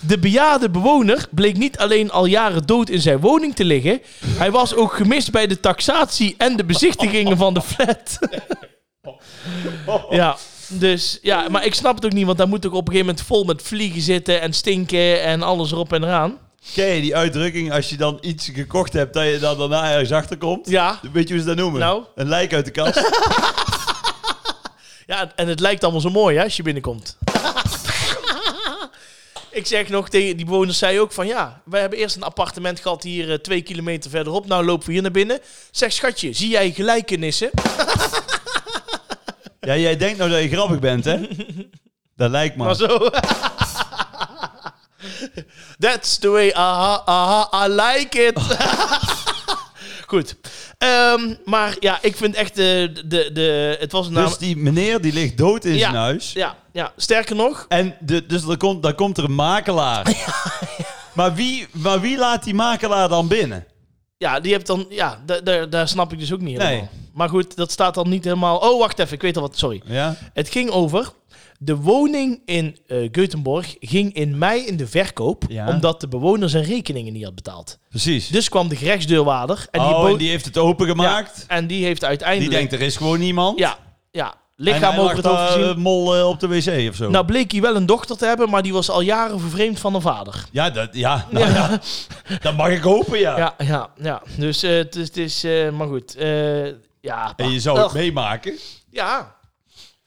De bejaarde bewoner bleek niet alleen al jaren dood in zijn woning te liggen, hij was ook gemist bij de taxatie en de bezichtigingen van de flat. Ja, dus ja, maar ik snap het ook niet, want daar moet ook op een gegeven moment vol met vliegen zitten en stinken en alles erop en eraan.
Ken je die uitdrukking als je dan iets gekocht hebt, dat je dan daarna ergens achterkomt?
Ja,
Weet je hoe ze dat noemen?
Nou?
Een lijk uit de kast.
*laughs* ja en het lijkt allemaal zo mooi hè, als je
*laughs*
binnenkomt. ik zeg nog tegen die bewoners, zei ook van ja, wij hebben eerst een appartement gehad hier eh, twee kilometer verderop. Nou lopen we hier naar binnen. Zeg schatje, zie jij
*laughs*
gelijkenissen?
ja, jij denkt nou dat je grappig bent, hè? Dat lijkt me.
Maar zo. *laughs* That's the way, aha, aha, I like
*laughs*
it. Goed. Ehm, maar ja, ik vind echt de, de, de het was een naam.
Dus die meneer die ligt dood in
nou- Ja.
zijn huis.
ja, ja, sterker nog,
En de, dus dan komt, dan komt er een
*laughs*
makelaar. Maar, wie, maar wie laat die makelaar dan binnen?
ja, die hebt dan, ja, da- da- daar snap ik dus ook niet helemaal.
Nee.
Maar goed, dat staat dan niet helemaal. Oh, wacht even, ik weet al wat, sorry.
Ja?
Het ging over. De woning in eh Göteborg ging in mei in de verkoop.
Ja.
Omdat de bewoner zijn rekeningen niet had betaald.
Precies.
Dus kwam de gerechtsdeurwaarder. En die,
oh,
bood-
en die heeft het opengemaakt.
Ja, en die heeft uiteindelijk...
Die denkt, er is gewoon niemand.
Ja, ja.
En hij
Lichaam over
lag
het
daar,
hoofd gezien.
eh, mol eh, op de wc of zo.
Nou bleek hij wel een dochter te hebben, maar die was al jaren vervreemd van een vader.
ja, dat,
*laughs*
ja, nou ja. *laughs* dat mag ik hopen, ja.
Ja, ja, ja. Dus eh, het is... Het is eh, maar goed. eh, ja.
En je zou het
Ugh.
meemaken.
Ja.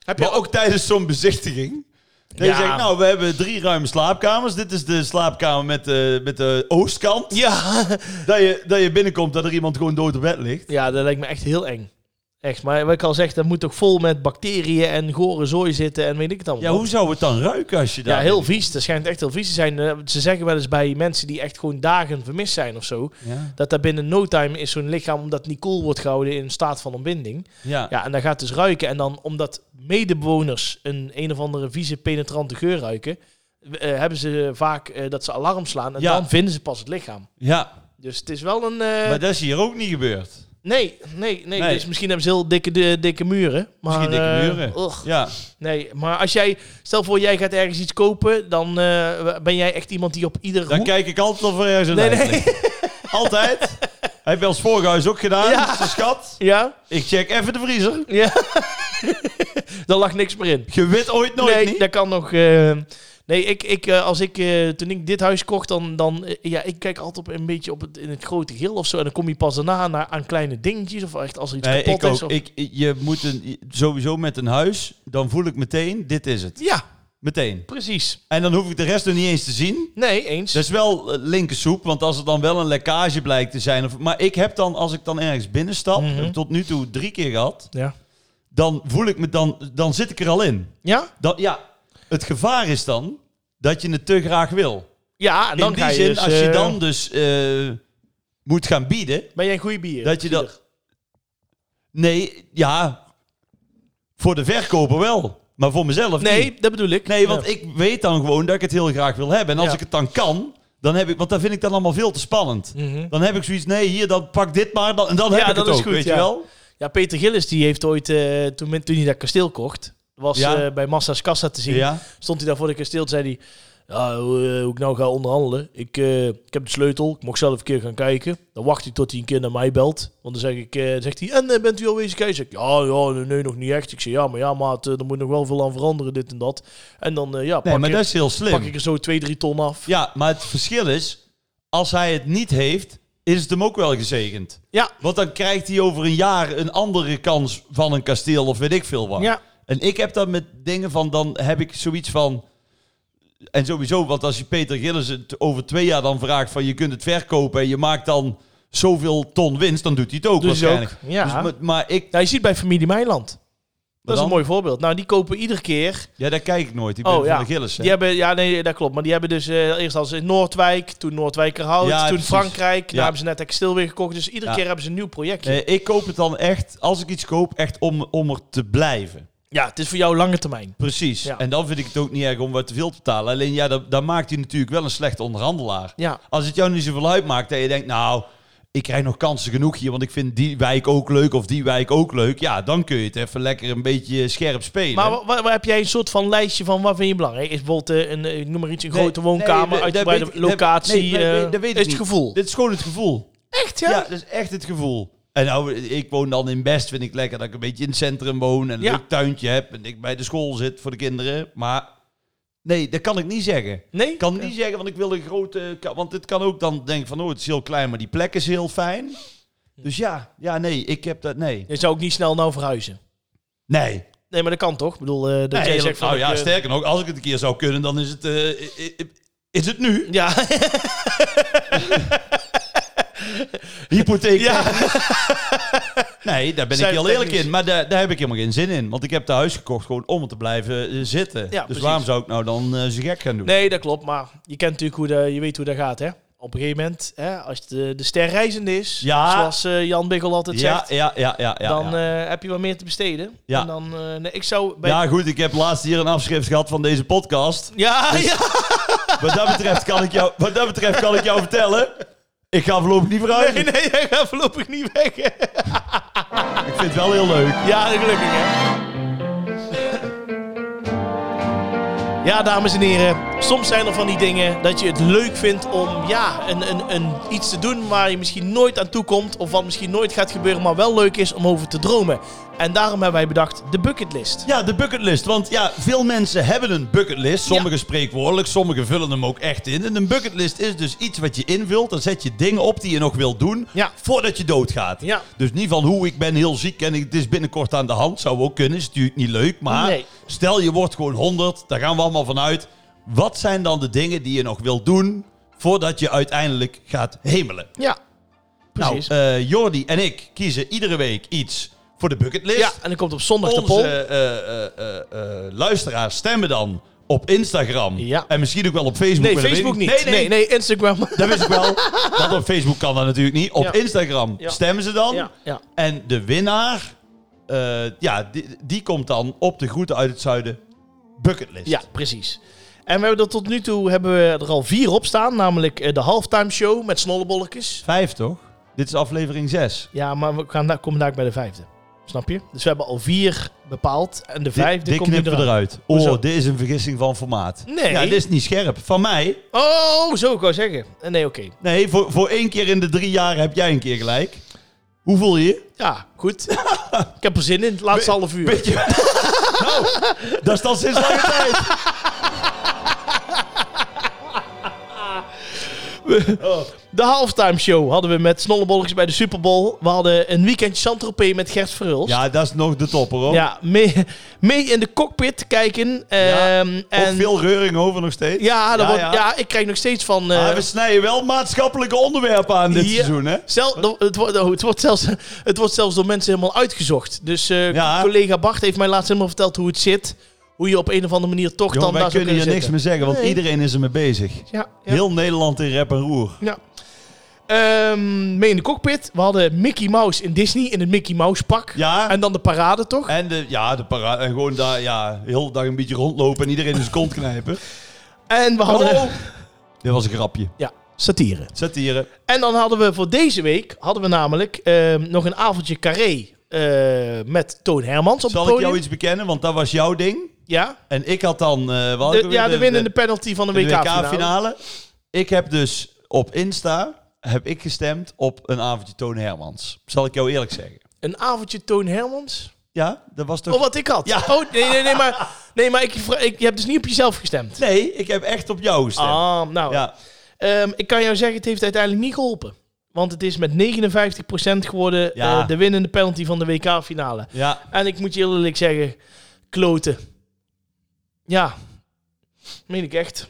Heb je
Maar ook tijdens zo'n bezichtiging. Dan
Ja.
je zegt, nou, we hebben drie ruime slaapkamers. Dit is de slaapkamer met de, met de
*laughs*
oostkant.
Ja.
Dat, je, dat je binnenkomt dat er iemand gewoon dood op bed ligt.
ja, dat lijkt me echt heel eng. Echt. Maar wat ik al zeg, dat moet toch vol met bacteriën en gore zooi zitten en weet ik het allemaal.
Ja,
wat.
hoe zou het dan ruiken als je daar...
Ja, heel vies. Dat schijnt echt heel vies te zijn. Eh, Ze zeggen wel eens bij mensen die echt gewoon dagen vermist zijn of zo...
Ja.
dat daar binnen no time is zo'n lichaam, omdat het niet koel wordt gehouden, in een staat van ontbinding.
Ja.
Ja, en dan gaat het dus ruiken. En dan, omdat medebewoners een een of andere vieze, penetrante geur ruiken, w- eh, hebben ze vaak eh, dat ze alarm slaan. En
Ja.
dan vinden ze pas het lichaam.
Ja,
Dus het is wel een... eh,
maar dat is hier ook niet gebeurd.
nee, nee, nee,
Nee.
Dus misschien hebben ze heel dikke, de, dikke muren. Maar,
Misschien dikke
eh,
muren.
ugh.
Ja.
nee, maar als jij... Stel voor, jij gaat ergens iets kopen, dan eh, ben jij echt iemand die op ieder...
Dan
hoek-
kijk ik altijd of er ergens een
Nee, nee.
lijk ligt.
*laughs*
Altijd. Hij heeft bij ons vorige huis ook gedaan. dus
Ja.
Zijn schat.
Ja?
Ik check even de vriezer.
Ja. *laughs* dan lag niks meer in.
Je weet ooit nooit
nee,
niet.
dat kan nog. eh, nee, ik, ik, eh, als ik, eh, toen ik dit huis kocht, dan, dan eh, ja, ik kijk altijd op een beetje op het, in het grote geheel of zo. En dan kom je pas daarna naar, aan kleine dingetjes of echt als er iets
Nee,
kapot
ik ook.
is. Of,
Ik, ik- je moet een, sowieso met een huis, dan voel ik meteen, dit is het.
ja,
Meteen.
precies.
En dan hoef ik de rest nog niet eens te zien.
Nee, eens.
Dat is wel eh, linkersoep, want als er dan wel een lekkage blijkt te zijn. Of, maar ik heb dan, als ik dan ergens binnenstap,
Mhm.
heb ik tot nu toe drie keer gehad,
ja.
dan voel ik me, dan, dan zit ik er al in.
Ja?
Dan, ja, het gevaar is dan dat je het te graag wil.
Ja, en dan
In
ga
die
je
zin,
dus,
als je
eh,
dan dus eh, moet gaan bieden,
Ben jij een goede bier?
dat je dat... Nee, ja, voor de verkoper wel, maar voor mezelf niet.
Nee, dat bedoel ik.
Nee, want
Ja.
ik weet dan gewoon dat ik het heel graag wil hebben. En als
Ja.
ik het dan kan, dan heb ik... Want dan vind ik dan allemaal veel te spannend.
Mhm.
Dan heb ik zoiets, nee, hier, dan pak dit maar. Dan, en dan
Ja,
heb ik
dat
het
is
ook,
goed,
weet
ja.
je wel?
Ja, Peter Gillis die heeft ooit, eh, toen, men- toen hij dat kasteel kocht, was
Ja.
eh, bij Massa's Kassa te zien.
Ja.
Stond hij daar voor de kasteel, toen zei hij, ja, hoe, eh, hoe ik nou ga onderhandelen. Ik, eh, ik heb de sleutel, ik mocht zelf een keer gaan kijken. Dan wacht hij tot hij een keer naar mij belt. Want dan zeg ik, eh, zegt hij, en eh, bent u alweer eens kijken? Zeg ik, ja, ja, nee, nee, nog niet echt. Ik zeg, ja, maar ja, maat, eh, er moet nog wel veel aan veranderen, dit en dat. En dan, eh, ja, pak,
Nee, maar
ik,
dat is heel slim.
pak ik er zo twee, drie ton af. Ja,
Ja, maar het verschil is, als hij het niet heeft, is het hem ook wel gezegend.
ja.
Want dan krijgt hij over een jaar een andere kans van een kasteel of weet ik veel wat. En ik heb dat met dingen van, dan heb ik zoiets van... En sowieso, want als je Peter Gillis het over twee jaar dan vraagt van je kunt het verkopen en je maakt dan zoveel ton winst, dan doet hij het ook
Dus
waarschijnlijk.
ook, ja.
Dus, maar, maar ik...
Nou, je ziet bij familie Meiland. Dat is
dan-
een mooi voorbeeld. Nou, die kopen iedere keer
Ja, daar kijk ik nooit. Ik ben
Oh,
van
ja.
de Gillis. hè.
Die hebben, ja, nee, dat klopt. Maar die hebben dus eh, eerst als in Noordwijk, toen Noordwijkerhout,
Ja,
toen
precies.
Frankrijk. Daar
Ja.
hebben ze net dat kasteel weer gekocht. Dus iedere
Ja.
keer hebben ze een nieuw projectje.
Eh, ik koop het dan echt, als ik iets koop, echt om, om er te blijven.
ja, het is voor jou lange termijn.
Precies.
Ja.
En dan vind ik het ook niet erg om wat te veel te betalen. Alleen ja, dan, dan maakt hij natuurlijk wel een slechte onderhandelaar.
Ja.
Als het jou niet zoveel uitmaakt dat je denkt, nou, ik krijg nog kansen genoeg hier, want ik vind die wijk ook leuk of die wijk ook leuk. Ja, dan kun je het even lekker een beetje scherp spelen.
Maar wa- wa- wa- heb jij een soort van lijstje van wat vind je belangrijk? Is bijvoorbeeld eh, een, eh, ik noem maar iets, een
Nee,
grote
nee,
woonkamer,
dat- dat
uitgebreide
weet ik- dat-
locatie?
nee, nee, nee,
eh,
dat weet ik
is het
niet.
gevoel.
Dit is gewoon het gevoel.
Echt,
Ja? dat is echt het gevoel. En nou, ik woon dan in Best, vind ik lekker dat ik een beetje in het centrum woon en een
Ja.
leuk tuintje heb en ik bij de school zit voor de kinderen. Maar nee, dat kan ik niet zeggen.
Nee?
Ik kan niet zeggen, want ik wil een grote... ka- Want het kan ook dan denken van, oh, het is heel klein, maar die plek is heel fijn.
Hm.
Dus ja, ja, nee, ik heb dat, nee.
Je zou ook niet snel nou verhuizen.
Nee.
Nee, maar dat kan toch? Ik bedoel, eh, dat
Nee,
jij
heel-
zegt van...
nou
ik,
ja,
eh,
sterker nog, als ik het een keer zou kunnen, dan is het... eh, i- i- is het nu?
Ja,
Hypotheek. *laughs* nee, daar ben ik heel eerlijk
Cijfertechnisch.
in. Maar daar, daar heb ik helemaal geen zin in. Want ik heb het huis gekocht gewoon om er te blijven eh, zitten. dus
precies.
waarom zou ik nou dan eh ze gek gaan doen?
Nee, dat klopt. Maar je kent natuurlijk hoe de, je weet hoe dat gaat, hè? Op een gegeven moment, hè, als de, de ster reizende is,
Ja.
zoals eh, Jan Biggel altijd
ja,
zegt,
ja, ja, ja, ja.
dan
ja.
eh, heb je wat meer te besteden.
Ja.
En dan, eh, nee, ik zou bij...
ja, goed, ik heb laatst hier een afschrift gehad van deze podcast.
ja, ja.
Wat dat betreft kan ik jou, wat dat betreft kan ik jou vertellen. Ik ga voorlopig niet vooruit.
Nee, nee, jij gaat voorlopig niet weg. hè.
Ik vind het wel heel leuk.
Ja, gelukkig, hè? Ja, dames en heren, soms zijn er van die dingen dat je het leuk vindt om ja, een, een, een, iets te doen waar je misschien nooit aan toe komt of wat misschien nooit gaat gebeuren, maar wel leuk is om over te dromen. En daarom hebben wij bedacht de bucketlist.
Ja, de bucketlist. Want ja, veel mensen hebben een bucketlist. Sommigen spreekwoordelijk, sommigen vullen hem ook echt in. En een bucketlist is dus iets wat je invult. Dan zet je dingen op die je nog wilt doen
Ja.
voordat je doodgaat.
Ja.
Dus niet van hoe ik ben heel ziek en ik- het is binnenkort aan de hand. Zou ook kunnen, is natuurlijk niet leuk. Maar
Nee.
stel je wordt gewoon 100, daar gaan we allemaal van uit. Wat zijn dan de dingen die je nog wilt doen voordat je uiteindelijk gaat hemelen?
Ja, precies.
Nou, eh, Jordi en ik kiezen iedere week iets voor de bucketlist.
ja, en dan komt op zondag de
Onze
poll.
eh, eh, eh, eh, luisteraars stemmen dan op Instagram.
Ja.
En misschien ook wel op Facebook.
Nee,
maar dat
Facebook
weet
niet.
ik
Nee, nee, Instagram.
Dat wist ik
*laughs*
wel. Want op Facebook kan dat natuurlijk niet. Op
Ja.
Instagram
Ja.
stemmen ze dan.
Ja, ja.
En de winnaar, eh, ja, die, die komt dan op de Groeten uit het Zuiden bucketlist.
Ja, precies. En we hebben er tot nu toe hebben we er al vier op staan, namelijk eh, de halftime show met snollebolletjes.
Vijf toch? Dit is aflevering zes.
Ja, maar we gaan, daar- komen daar bij de vijfde. Snap je? Dus we hebben al vier bepaald. En de
Dit-
vijfde
dit
komt nu
knippen we
eraan.
eruit.
Hoezo?
Oh, dit is een vergissing van formaat.
Nee.
Ja, dit is niet scherp. Van mij
Oh, zo ik wou zeggen. Eh, Nee, oké.
Nee, voor, voor één keer in de drie jaar heb jij een keer gelijk. Hoe voel je je?
Ja, goed.
*laughs*
ik heb er zin in. Het laatste half uur.
Beetje... *laughs* nou, dat is dan sinds lange tijd.
De halftime show hadden we met snollebolletjes bij de Super Bowl. We hadden een weekendje Saint-Tropez met Gert Verhulst.
Ja, dat is nog de topper hoor.
Ja, mee, mee in de cockpit kijken. Ehm,
Ook
en
veel reuring over nog steeds.
Ja, dat
Ja,
wordt,
ja.
ja, ik krijg nog steeds van... eh,
Maar we snijden wel maatschappelijke onderwerpen aan dit
Ja.
seizoen, hè?
Zel- do- het, wordt, oh, het, wordt zelfs, *laughs* het wordt zelfs door mensen helemaal uitgezocht. Dus eh,
Ja.
collega Bart heeft mij laatst helemaal verteld hoe het zit. hoe je op een of andere manier toch
Jongen,
dan
wij
daar zou
kunnen hier
kunnen
niks meer zeggen, want
Nee.
iedereen is ermee bezig.
zitten. Ja, ja.
Heel Nederland in rep en roer.
Ja. Ehm, mee in de cockpit. We hadden Mickey Mouse in Disney in het Mickey Mouse pak.
Ja, Eh. en,
En dan de parade toch?
de, ja, de para- en gewoon daar ja, heel de dag een beetje rondlopen en iedereen in zijn kont knijpen.
En we hadden
Oh. Dit was een grapje.
*laughs*
eh,
ja, satire.
Satire.
En dan hadden we voor deze week hadden we namelijk ehm, nog een avondje carré eh, met Toon Hermans op
Zal
het
ik
podium.
jou iets bekennen? Want dat was jouw ding.
Ja,
En ik had dan... eh, wat had ik
de,
ook
ja,
weer?
de winnende penalty van de
de
WK-finale.
WK-finale. Ik heb dus op Insta heb ik gestemd op een avondje Toon Hermans. Zal ik jou eerlijk zeggen.
Een avondje Toon Hermans?
Ja, dat was toch...
Oh, wat ik had.
Ja.
Oh, nee, nee, nee, maar, nee, maar ik, vra- ik, je hebt dus niet op jezelf gestemd.
Nee, ik heb echt op jou gestemd.
Ah, nou,
Ja.
Ehm, ik kan jou zeggen, het heeft uiteindelijk niet geholpen. Want het is met 59% geworden
Ja.
eh, de winnende penalty van de WK-finale.
ja.
En ik moet je heel eerlijk zeggen, kloten. Ja, meen ik echt.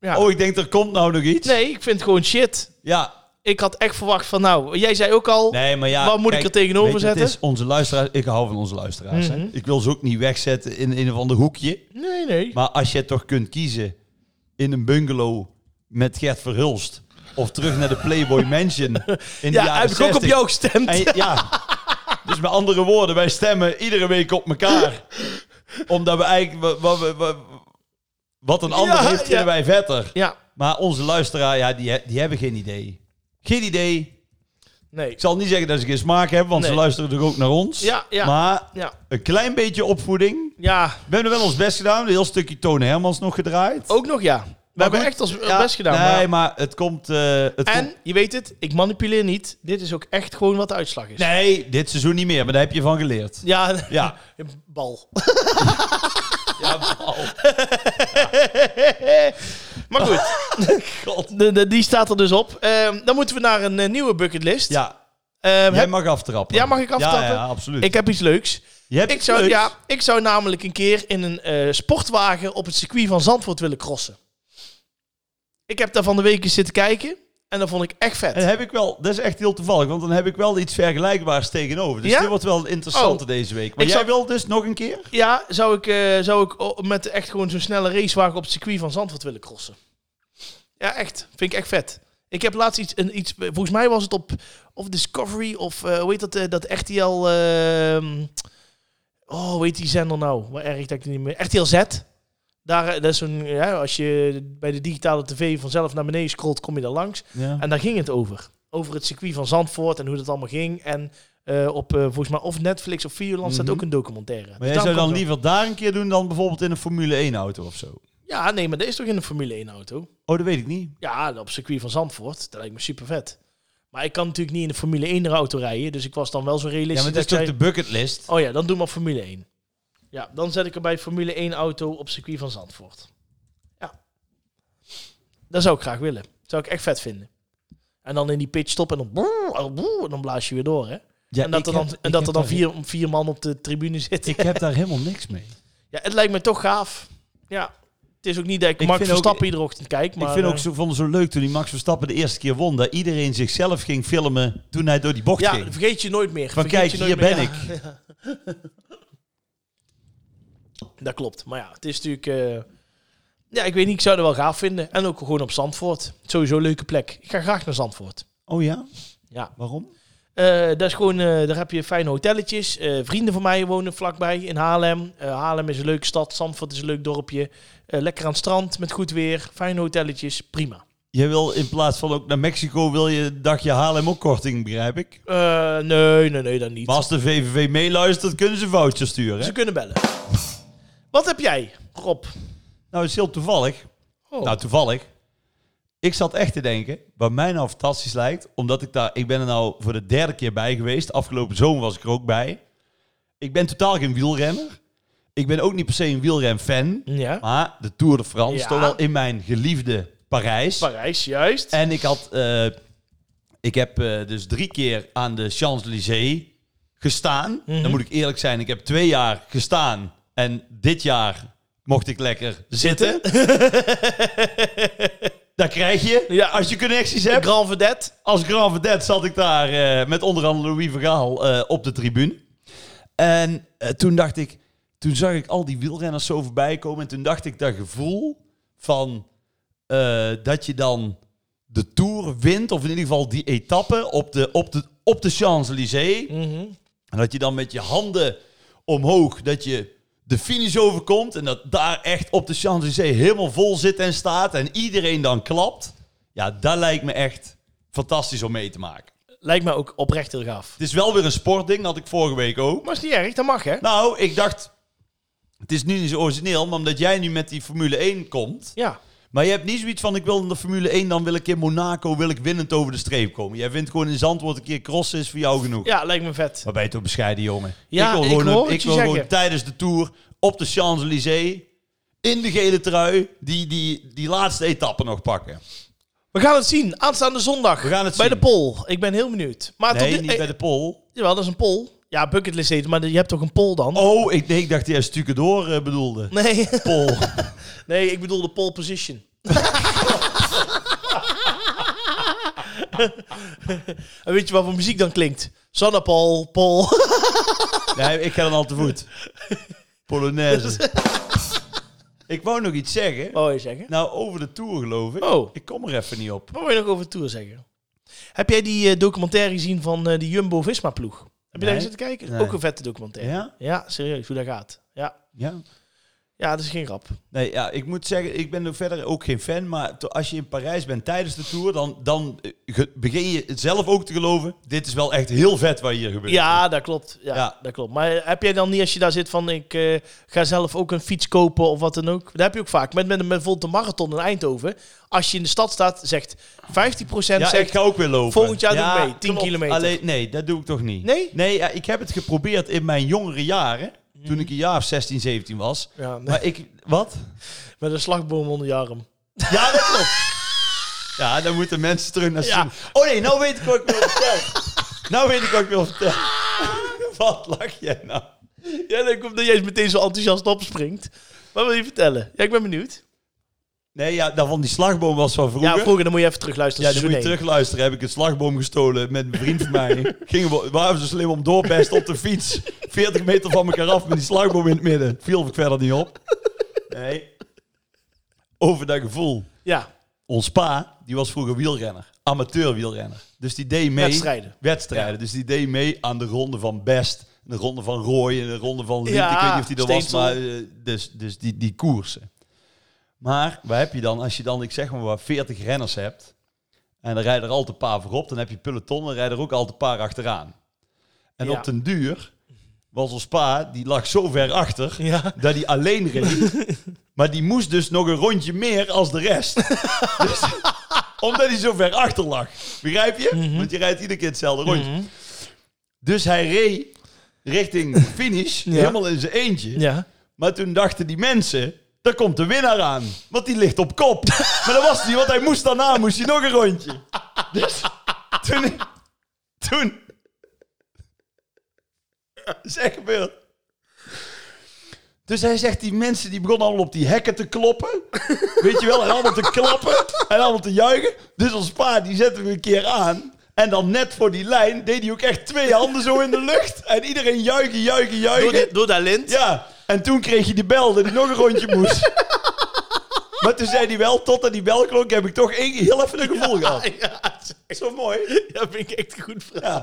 Ja.
Oh, ik denk er komt nou nog iets.
Nee, ik vind het gewoon shit.
Ja.
Ik had echt verwacht van, nou, jij zei ook al,
Nee, maar ja.
wat moet ik
kijk,
er tegenover
weet je, het
zetten?
is onze luisteraars. Ik hou van onze luisteraars. hè.
Mhm.
Ik wil ze ook niet wegzetten in een of ander hoekje.
Nee, nee.
Maar als je toch kunt kiezen in een bungalow met Gert Verhulst. Of terug naar de Playboy
*laughs*
Mansion. In de
ja,
jaren
heb ik ook op
60.
jou gestemd.
En, ja. Dus met andere woorden, wij stemmen iedere week op elkaar. Omdat we eigenlijk... wa- wa- wa- wa- Wat een ander
Ja,
heeft, vinden
ja.
wij vetter.
Ja,
Maar onze luisteraar, ja, die, he- die hebben geen idee. Geen idee.
nee.
Ik zal niet zeggen dat ze geen smaak hebben, want ze
Nee.
luisteren toch ook naar ons.
Ja, ja.
Maar
Ja,
een klein beetje opvoeding.
ja.
We hebben wel ons best gedaan. Een heel stukje Toon Hermans nog gedraaid.
ook nog ja. Oh, We hebben
goed,
echt ons
Ja,
best gedaan. maar-
Nee, maar het komt... eh, het komt-
En, je weet het, ik manipuleer niet. Dit is ook echt gewoon wat de uitslag is.
nee, dit seizoen niet meer, maar daar heb je van geleerd.
Ja,
Ja.
bal.
ja
*laughs*
wauw.
Maar
*laughs*
goed, de, de, die staat er dus op. Ehm, dan moeten we naar een eh, nieuwe bucketlist.
Ja,
Ehm,
Jij
heb-
mag aftrappen.
Ja, mag ik aftrappen?
Ja, ja, absoluut.
ik heb iets leuks.
Je hebt
Ik
iets
zou,
leuks.
ja, ik zou namelijk een keer in een eh, sportwagen op het circuit van Zandvoort willen crossen. Ik heb daar van de week eens zitten kijken en dat vond ik echt vet.
En heb ik wel, dat is echt heel toevallig, want dan heb ik wel iets vergelijkbaars tegenover. Dus
Ja?
dit wordt wel interessant
Oh.
deze week. Maar
Ik
jij
zou-
wil dus nog een keer?
Ja, zou ik, eh, zou ik o- met echt gewoon zo'n snelle racewagen op het circuit van Zandvoort willen crossen. Ja, echt. Vind ik echt vet. Ik heb laatst iets, een, iets volgens mij was het op of Discovery of eh hoe heet dat, eh, dat RTL, ehm, oh, hoe heet die zender nou? Wat erg dat ik het niet meer, RTL Z. Daar, eh, dat is zo'n, ja, als je bij de digitale tv vanzelf naar beneden scrolt, kom je daar langs.
Ja.
En daar ging het over. Over het circuit van Zandvoort en hoe dat allemaal ging. En eh, op eh, volgens mij of Netflix of Videoland staat
Mhm.
ook een documentaire. Dus
Maar jij
daarom
zou
komt
dan
dat.
liever daar een keer doen dan bijvoorbeeld in een Formule 1-auto of zo?
Ja, nee, maar dat is toch in een Formule 1 auto?
Oh, dat weet ik niet.
Ja, op circuit van Zandvoort. Dat lijkt me super vet. Maar ik kan natuurlijk niet in een Formule 1 auto rijden. Dus ik was dan wel zo
Ja,
realistisch.
maar het
dat
is
ik
toch
zei,
de bucketlist?
Oh ja, dan doe maar Formule 1. Ja, dan zet ik er bij Formule 1 auto op circuit van Zandvoort. Ja. Dat zou ik graag willen. zou ik echt vet vinden. En dan in die pitch stop en dan, boe, boe, en dan blaas je weer door, hè?
Ja,
en dat
ik
er dan,
heb-
en
ik
dat er
heb
dan
daar-
vier, vier man op de tribune zitten.
Ik heb daar helemaal niks
*laughs*
mee.
Ja, het lijkt me toch gaaf. Ja. Het is ook niet dat ik,
Ik
Mark
vind ook-
Verstappen iedere ochtend kijk, maar...
ik vind ook,
eh,
zo, vond het zo leuk toen die Max Verstappen de eerste keer won, dat iedereen zichzelf ging filmen toen hij door die bocht
Ja,
ging.
vergeet je nooit meer.
Van
Vergeet
kijk,
je nooit
hier
meer.
ben ik.
Ja, dat klopt. Maar ja, het is natuurlijk... eh, ja, ik weet niet, ik zou het wel gaaf vinden. En ook gewoon op Zandvoort. Sowieso een leuke plek. Ik ga graag naar Zandvoort.
Oh ja?
Ja.
Waarom?
Eh, dat is gewoon, eh, daar heb je fijne hotelletjes. Eh, vrienden van mij wonen vlakbij in Haarlem. Eh, Haarlem is een leuke stad. Zandvoort is een leuk dorpje. Eh, lekker aan het strand met goed weer. Fijne hotelletjes. Prima.
Jij wil in plaats van ook naar Mexico, wil je een dagje Haarlem ook korting, begrijp ik.
Eh, nee, nee, nee, dat niet.
Maar als de VVV meeluistert, kunnen ze een voucher sturen. hè?
Ze kunnen bellen. Wat heb jij, Rob?
Nou, het is heel toevallig.
Oh.
Nou, toevallig. Ik zat echt te denken, wat mij nou fantastisch lijkt, omdat ik daar, ik ben er nou voor de derde keer bij geweest. Afgelopen zomer was ik er ook bij. Ik ben totaal geen wielrenner. Ik ben ook niet per se een wielrenfan.
ja.
Maar de Tour de France,
Ja.
toch wel in mijn geliefde Parijs.
Parijs, juist.
En ik had, eh, ik heb eh, dus drie keer aan de Champs-Élysées gestaan. Dan moet ik eerlijk zijn, ik heb twee jaar gestaan. En dit jaar mocht ik lekker zitten. *laughs* Daar krijg je,
Ja.
als je connecties
De
hebt.
Grand Vedette.
Als Grand Vedette zat ik daar eh, met onder andere Louis Vergaal eh, op de tribune. En eh, toen dacht ik, Toen zag ik al die wielrenners zo voorbij komen. En toen dacht ik dat gevoel van eh, dat je dan de Tour wint. Of in ieder geval die etappe op de, op de, op de Champs-Élysées.
Mhm.
En dat je dan met je handen omhoog, dat je de finish overkomt. En dat daar echt op de Champs-Élysées helemaal vol zit en staat. En iedereen dan klapt. Ja, dat lijkt me echt fantastisch om mee te maken.
Lijkt me ook oprecht heel gaaf.
Het is wel weer een sportding, dat had ik vorige week ook.
Maar is niet erg, dat mag hè?
Nou, ik dacht, het is nu niet zo origineel, maar omdat jij nu met die Formule 1 komt.
Ja.
Maar je hebt niet zoiets van, ik wil in de Formule 1, dan wil ik in Monaco, wil ik winnend over de streep komen. Jij vindt gewoon in Zandvoort een keer crossen is voor jou genoeg.
ja, lijkt me vet.
Maar ben je toch bescheiden, jongen?
Ja,
ik wil
ik
gewoon,
hoor het
ik
je
wil gewoon
zeggen.
tijdens de Tour op de Champs-Élysées, in de gele trui, die, die, die laatste etappe nog pakken.
We gaan het zien. Aanstaande zondag.
We gaan het
bij
zien.
de poll. Ik ben heel benieuwd. Maar tot
Nee,
die-
niet
eh,
bij de pol.
Jawel, dat is een poll. Ja, bucketlist heet het, maar je hebt toch een poll dan?
Oh, ik, nee, ik dacht dat jij stukken door eh, bedoelde. *laughs*
Nee. *laughs*
Pol.
nee, ik bedoel de poll position. *laughs* en weet je wat voor muziek dan klinkt? Zonnepol, pol.
Nee, ik ga dan al te voet.
*laughs*
Polonaise. ik wou nog iets zeggen.
Wat wil je zeggen?
Nou, over de Tour geloof ik.
Oh.
Ik kom er even niet op.
Wat wil je nog over Tour zeggen? Heb jij die eh, documentaire gezien van eh die Jumbo-Visma-ploeg? Heb je daar
Nee.
eens zitten kijken?
Nee.
Ook een vette documentaire.
Ja?
Ja, serieus, hoe dat gaat. Ja.
Ja.
ja, dat is geen grap.
Nee, ja, ik moet zeggen, ik ben er verder ook geen fan. Maar to- als je in Parijs bent tijdens de Tour, dan, dan eh, ge- begin je het zelf ook te geloven. Dit is wel echt heel vet wat hier gebeurt.
Ja, dat klopt. Ja,
Ja.
dat klopt. Maar eh, heb jij dan niet, als je daar zit, van ik eh, ga zelf ook een fiets kopen of wat dan ook? Dat heb je ook vaak. Met, met, met bijvoorbeeld de marathon in Eindhoven. Als je in de stad staat, zegt 15%
Ja,
zegt...
ik ga ook weer lopen.
volgend jaar
ja,
doe ik mee, 10 kilometer.
Alleen, nee, dat doe ik toch niet.
Nee? Mhm.
Nee, ja, ik heb het geprobeerd in mijn jongere jaren. Toen ik een jaar of 16, 17 was.
Ja, nee,
Maar ik... Wat?
met een slagboom onder je arm.
Ja, dat klopt. Ja, dan moeten mensen terug naar
Ja.
zien. Oh nee, nou weet ik wat ik wil vertellen. nou weet ik wat ik wil vertellen. *laughs* wat lach jij nou?
Ja, dan komt dat jij meteen zo enthousiast opspringt. Wat wil je vertellen? Ja, ik ben benieuwd.
Nee, ja, dat van die slagboom was van vroeger.
Ja, vroeger, dan moet je even terugluisteren.
Ja, dan moet je
seizoen één.
terugluisteren. Heb ik een slagboom gestolen met een vriend van
*laughs*
mij. Gingen we, waren we zo slim om doorpesten op de fiets. 40 meter van elkaar af met die slagboom in het midden. Viel ik verder niet op. Nee. Over dat gevoel.
Ja,
Ons pa, die was vroeger wielrenner. Amateur wielrenner. Dus die deed mee...
wedstrijden.
wedstrijden. Dus die deed mee aan de ronde van Best, de ronde van Roy en de ronde van Liet.
Ja,
ik weet niet of die er was,
Steensel.
maar eh, dus, dus die, die koersen. Maar waar heb je dan, als je dan, ik zeg maar, waar 40 renners hebt, en dan rijden er altijd een paar voorop, dan heb je peloton, dan rijden er ook altijd een paar achteraan. En
Ja.
op den duur was ons pa, die lag zo ver achter,
Ja.
dat hij alleen reed.
*laughs*
maar die moest dus nog een rondje meer als de rest. dus, omdat hij zo ver achter lag. Begrijp je? Want je rijdt iedere keer hetzelfde rondje. Dus hij reed richting finish, helemaal in zijn eentje.
Ja.
Maar toen dachten die mensen, daar komt de winnaar aan. Want die ligt op kop. maar dat was niet, want hij moest daarna moest hij nog een rondje. Dus toen... Toen... Is echt gebeurd. Dus hij zegt, die mensen die begonnen allemaal op die hekken te kloppen. Weet je wel, en allemaal te klappen en allemaal te juichen. Dus ons pa, die zetten we een keer aan. En dan net voor die lijn deed hij ook echt twee handen zo in de lucht. En iedereen juichen, juichen, juichen.
Door, de- door dat lint.
Ja, en toen kreeg je die bel dat hij nog een rondje *laughs* moest. maar toen zei hij wel, totdat die bel klonk, heb ik toch één, heel even een gevoel gehad.
*laughs* Ja,
Zo mooi.
dat vind ik echt een goed vraag.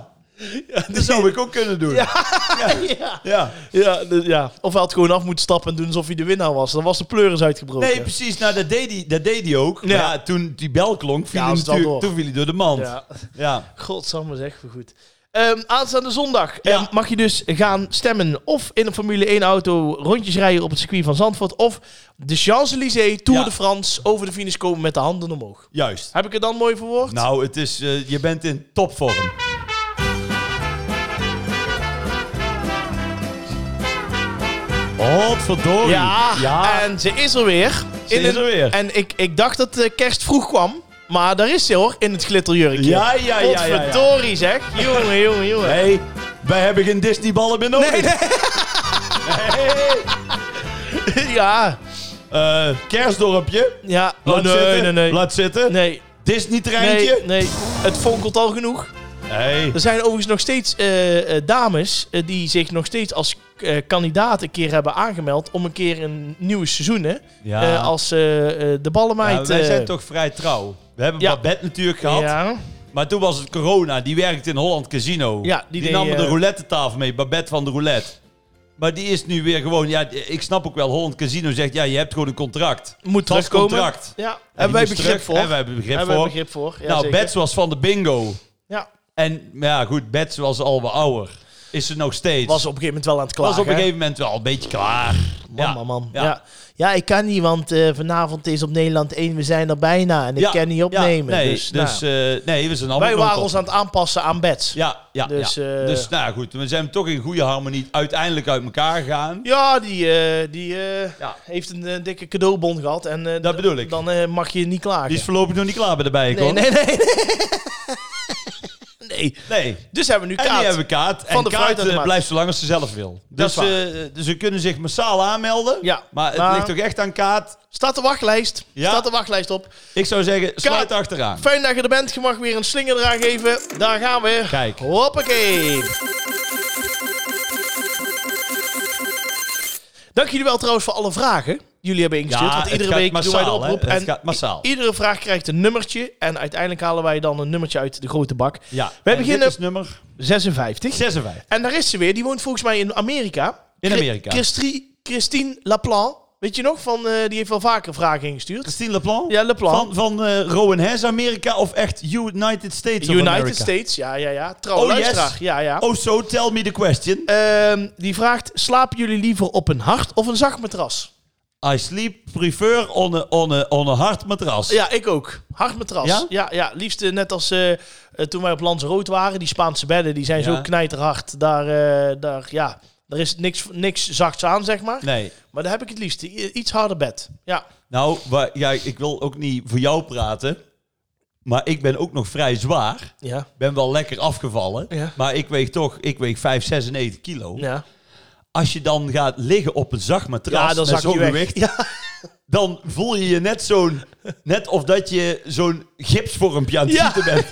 Ja. dat zou ik ook kunnen doen. Ja.
Ja.
ja.
Ja, dus ja, of hij had gewoon af moeten stappen en doen alsof hij de winnaar was. Dan was de pleuris uitgebroken.
Nee, precies. Nou, dat deed hij, dat deed hij ook. Maar Ja. toen die bel klonk, viel
Ja,
hij
was het wel
natuurlijk-
door.
toen viel hij door de mand. Ja.
Ja, godsamme zeg, maar goed. Ehm, aanstaande zondag
Ja.
ehm, mag je dus gaan stemmen of in een Formule 1-auto rondjes rijden op het circuit van Zandvoort of de Champs-Élysées, Tour
Ja.
de France, over de finish komen met de handen omhoog.
Juist.
Heb ik het dan mooi verwoord?
Nou, het is, eh, je bent in topvorm. Godverdorie.
ja,
ja.
en ze is er weer.
Ze is er
een-
weer.
En ik, ik dacht dat de kerst vroeg kwam, maar daar is ze hoor, in het glitterjurkje.
Ja, ja, ja, ja, ja.
Godverdorie, zeg. Jongen, jongen, jongen.
Hey, wij hebben geen Disneyballen meer nodig.
Nee, nee.
Hey.
*laughs* ja,
Eh, kerstdorpje.
ja.
Laat
Oh, nee,
zitten.
nee, nee.
Laat zitten.
Nee,
Disney-treintje.
nee, Dus, nee. Het fonkelt al genoeg.
Hey.
Er zijn overigens nog steeds eh, eh, dames eh, die zich nog steeds als eh, kandidaat een keer hebben aangemeld om een keer een nieuw seizoen hè,
Ja.
eh, als eh, eh, de ballenmeid.
Ja, wij
eh,
zijn toch vrij trouw. We hebben
Ja.
Babette natuurlijk gehad.
Ja,
Maar toen was het corona. Die werkte in Holland Casino.
Ja, die
die
deed,
nam
eh,
de roulette tafel mee. Babette van de roulette. Maar die is nu weer gewoon... Ja, ik snap ook wel. Holland Casino zegt... Ja, je hebt gewoon een contract.
moet
Vast
terugkomen.
contract.
Ja, hebben wij
En
begrip voor.
En wij hebben begrip
Hebben wij
voor.
begrip voor. Ja,
nou,
zeker.
Bets was van de bingo.
Ja,
En ja, goed, Bets was al wat ouder. Is ze nog steeds.
was op een gegeven moment wel aan het klagen.
Was op een
hè?
gegeven moment wel een beetje klaar.
Man,
ja.
man, man. Ja.
Ja.
Ja. ik kan niet, want eh, vanavond is op Nederland 1, we zijn er bijna en ik
Ja,
kan niet
ja,
opnemen.
nee,
dus,
dus,
nou,
eh, nee, we zijn allemaal
wij waren
kant op.
ons aan het aanpassen aan beds. Ja,
Ja, ja,
Dus,
dus,
eh,
dus nou ja, goed. We zijn toch in goede harmonie uiteindelijk uit elkaar gegaan.
die, eh, die eh,
Ja.
heeft een eh, dikke cadeaubon gehad en eh,
Dat bedoel ik.
dan eh, mag je niet klagen.
Die is voorlopig nog niet klaar bij de
nee,
bijenkorf.
nee, nee, nee. nee. *laughs*
nee.
Dus hebben we nu
En die
kaart.
hebben kaart.
Van
en
de fruit
kaart
en de
eh,
maat.
blijft zolang als ze zelf wil.
Dat
Dus,
is
eh, dus ze kunnen zich massaal aanmelden.
Ja,
Maar het
maar-
ligt toch echt aan kaart.
Staat de wachtlijst.
Ja.
Staat de wachtlijst op.
Ik zou zeggen, sluit achteraan.
Fijn dat je er bent. Je mag weer een slinger eraan geven. Daar gaan we.
Kijk.
Hoppakee. Dank jullie wel trouwens voor alle vragen. Jullie hebben ingestuurd,
Ja,
want
het
iedere
gaat
week doen wij
massaal,
de
hè?
oproep.
Het gaat massaal.
i- Iedere vraag krijgt een nummertje. En uiteindelijk halen wij dan een nummertje uit de grote bak.
Ja.
Wij
en
beginnen-
Dit is nummer
56.
56.
En daar is ze weer. Die woont volgens mij in Amerika.
In
Chri-
Amerika.
Christri- Christine Laplan. Weet je nog? Van, eh, die heeft wel vaker vragen ingestuurd.
Christine Laplan?
Ja, Laplan.
Van, van eh, Rowan Hess Amerika of echt United States of America?
United States, ja, ja, ja. Trouw
Oh,
luisteraar,
yes.
ja, ja.
Oh, so tell me the question.
Ehm, die vraagt, slapen jullie liever op een hard of een zacht matras?
I sleep prefer on a, on a, on a hard matras.
Ja, ik ook. Hard matras. Ja,
Ja?
ja, liefst eh, net als eh, eh, toen wij op Lanzarote waren. Die Spaanse bedden, die zijn
Ja.
zo knijterhard. Daar, eh, daar, ja, daar is niks, niks zachts aan, zeg maar.
Nee.
Maar daar heb ik het liefst. I- Iets harder bed. Ja.
Nou, wa- ja, ik wil ook niet voor jou praten. Maar ik ben ook nog vrij zwaar.
Ja.
Ben wel lekker afgevallen.
Ja.
Maar ik weeg toch, ik weeg 5, 96 kilo.
Ja.
Als je dan gaat liggen op een zacht matras
Ja, dan
met
zak je
zo'n
weg.
gewicht, dan voel je je net zo'n, net of dat je zo'n gipsvormpje aan het
Ja.
gieten
*laughs*
bent.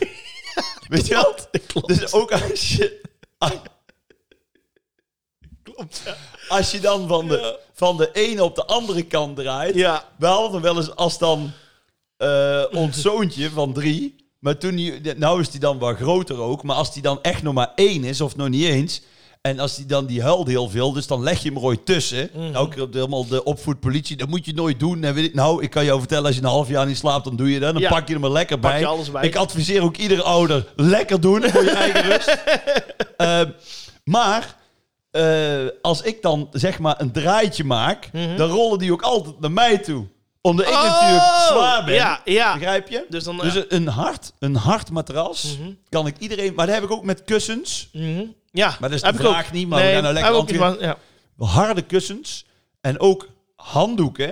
Weet je wat? Dus ook als je, Ah.
Klopt. Ja.
als je dan van de, van de ene op de andere kant draait,
Ja.
wel, dan wel eens als dan eh, ons zoontje van drie. Maar toen die, nou is die dan wat groter ook. Maar als die dan echt nog maar één is, of nog niet eens. En als die dan die huilt heel veel, dus dan leg je hem er ooit tussen.
Mhm.
Nou, ik heb helemaal de opvoedpolitie, dat moet je nooit doen. En weet ik, nou, ik kan jou vertellen, als je een half jaar niet slaapt, dan doe je dat. Dan
Ja.
pak je hem er lekker
Pak
bij.
je alles bij.
Ik adviseer ook iedere ouder, lekker doen voor je eigen rust.
*laughs*
Eh, maar eh, als ik dan zeg maar een draadje maak,
Mhm.
dan rollen die ook altijd naar mij toe. Omdat ik natuurlijk zwaar ben.
Oh! Ja, ja.
Begrijp je?
Dus dan, eh,
Dus een hard, een hard matras kan ik iedereen. Maar dat heb ik ook met kussens.
mhm. ja.
Maar dat is de
Heb ik
vraag
ook.
niet, maar we gaan nou lekker
heb ik ook niet, maar-
Harde kussens en ook handdoeken.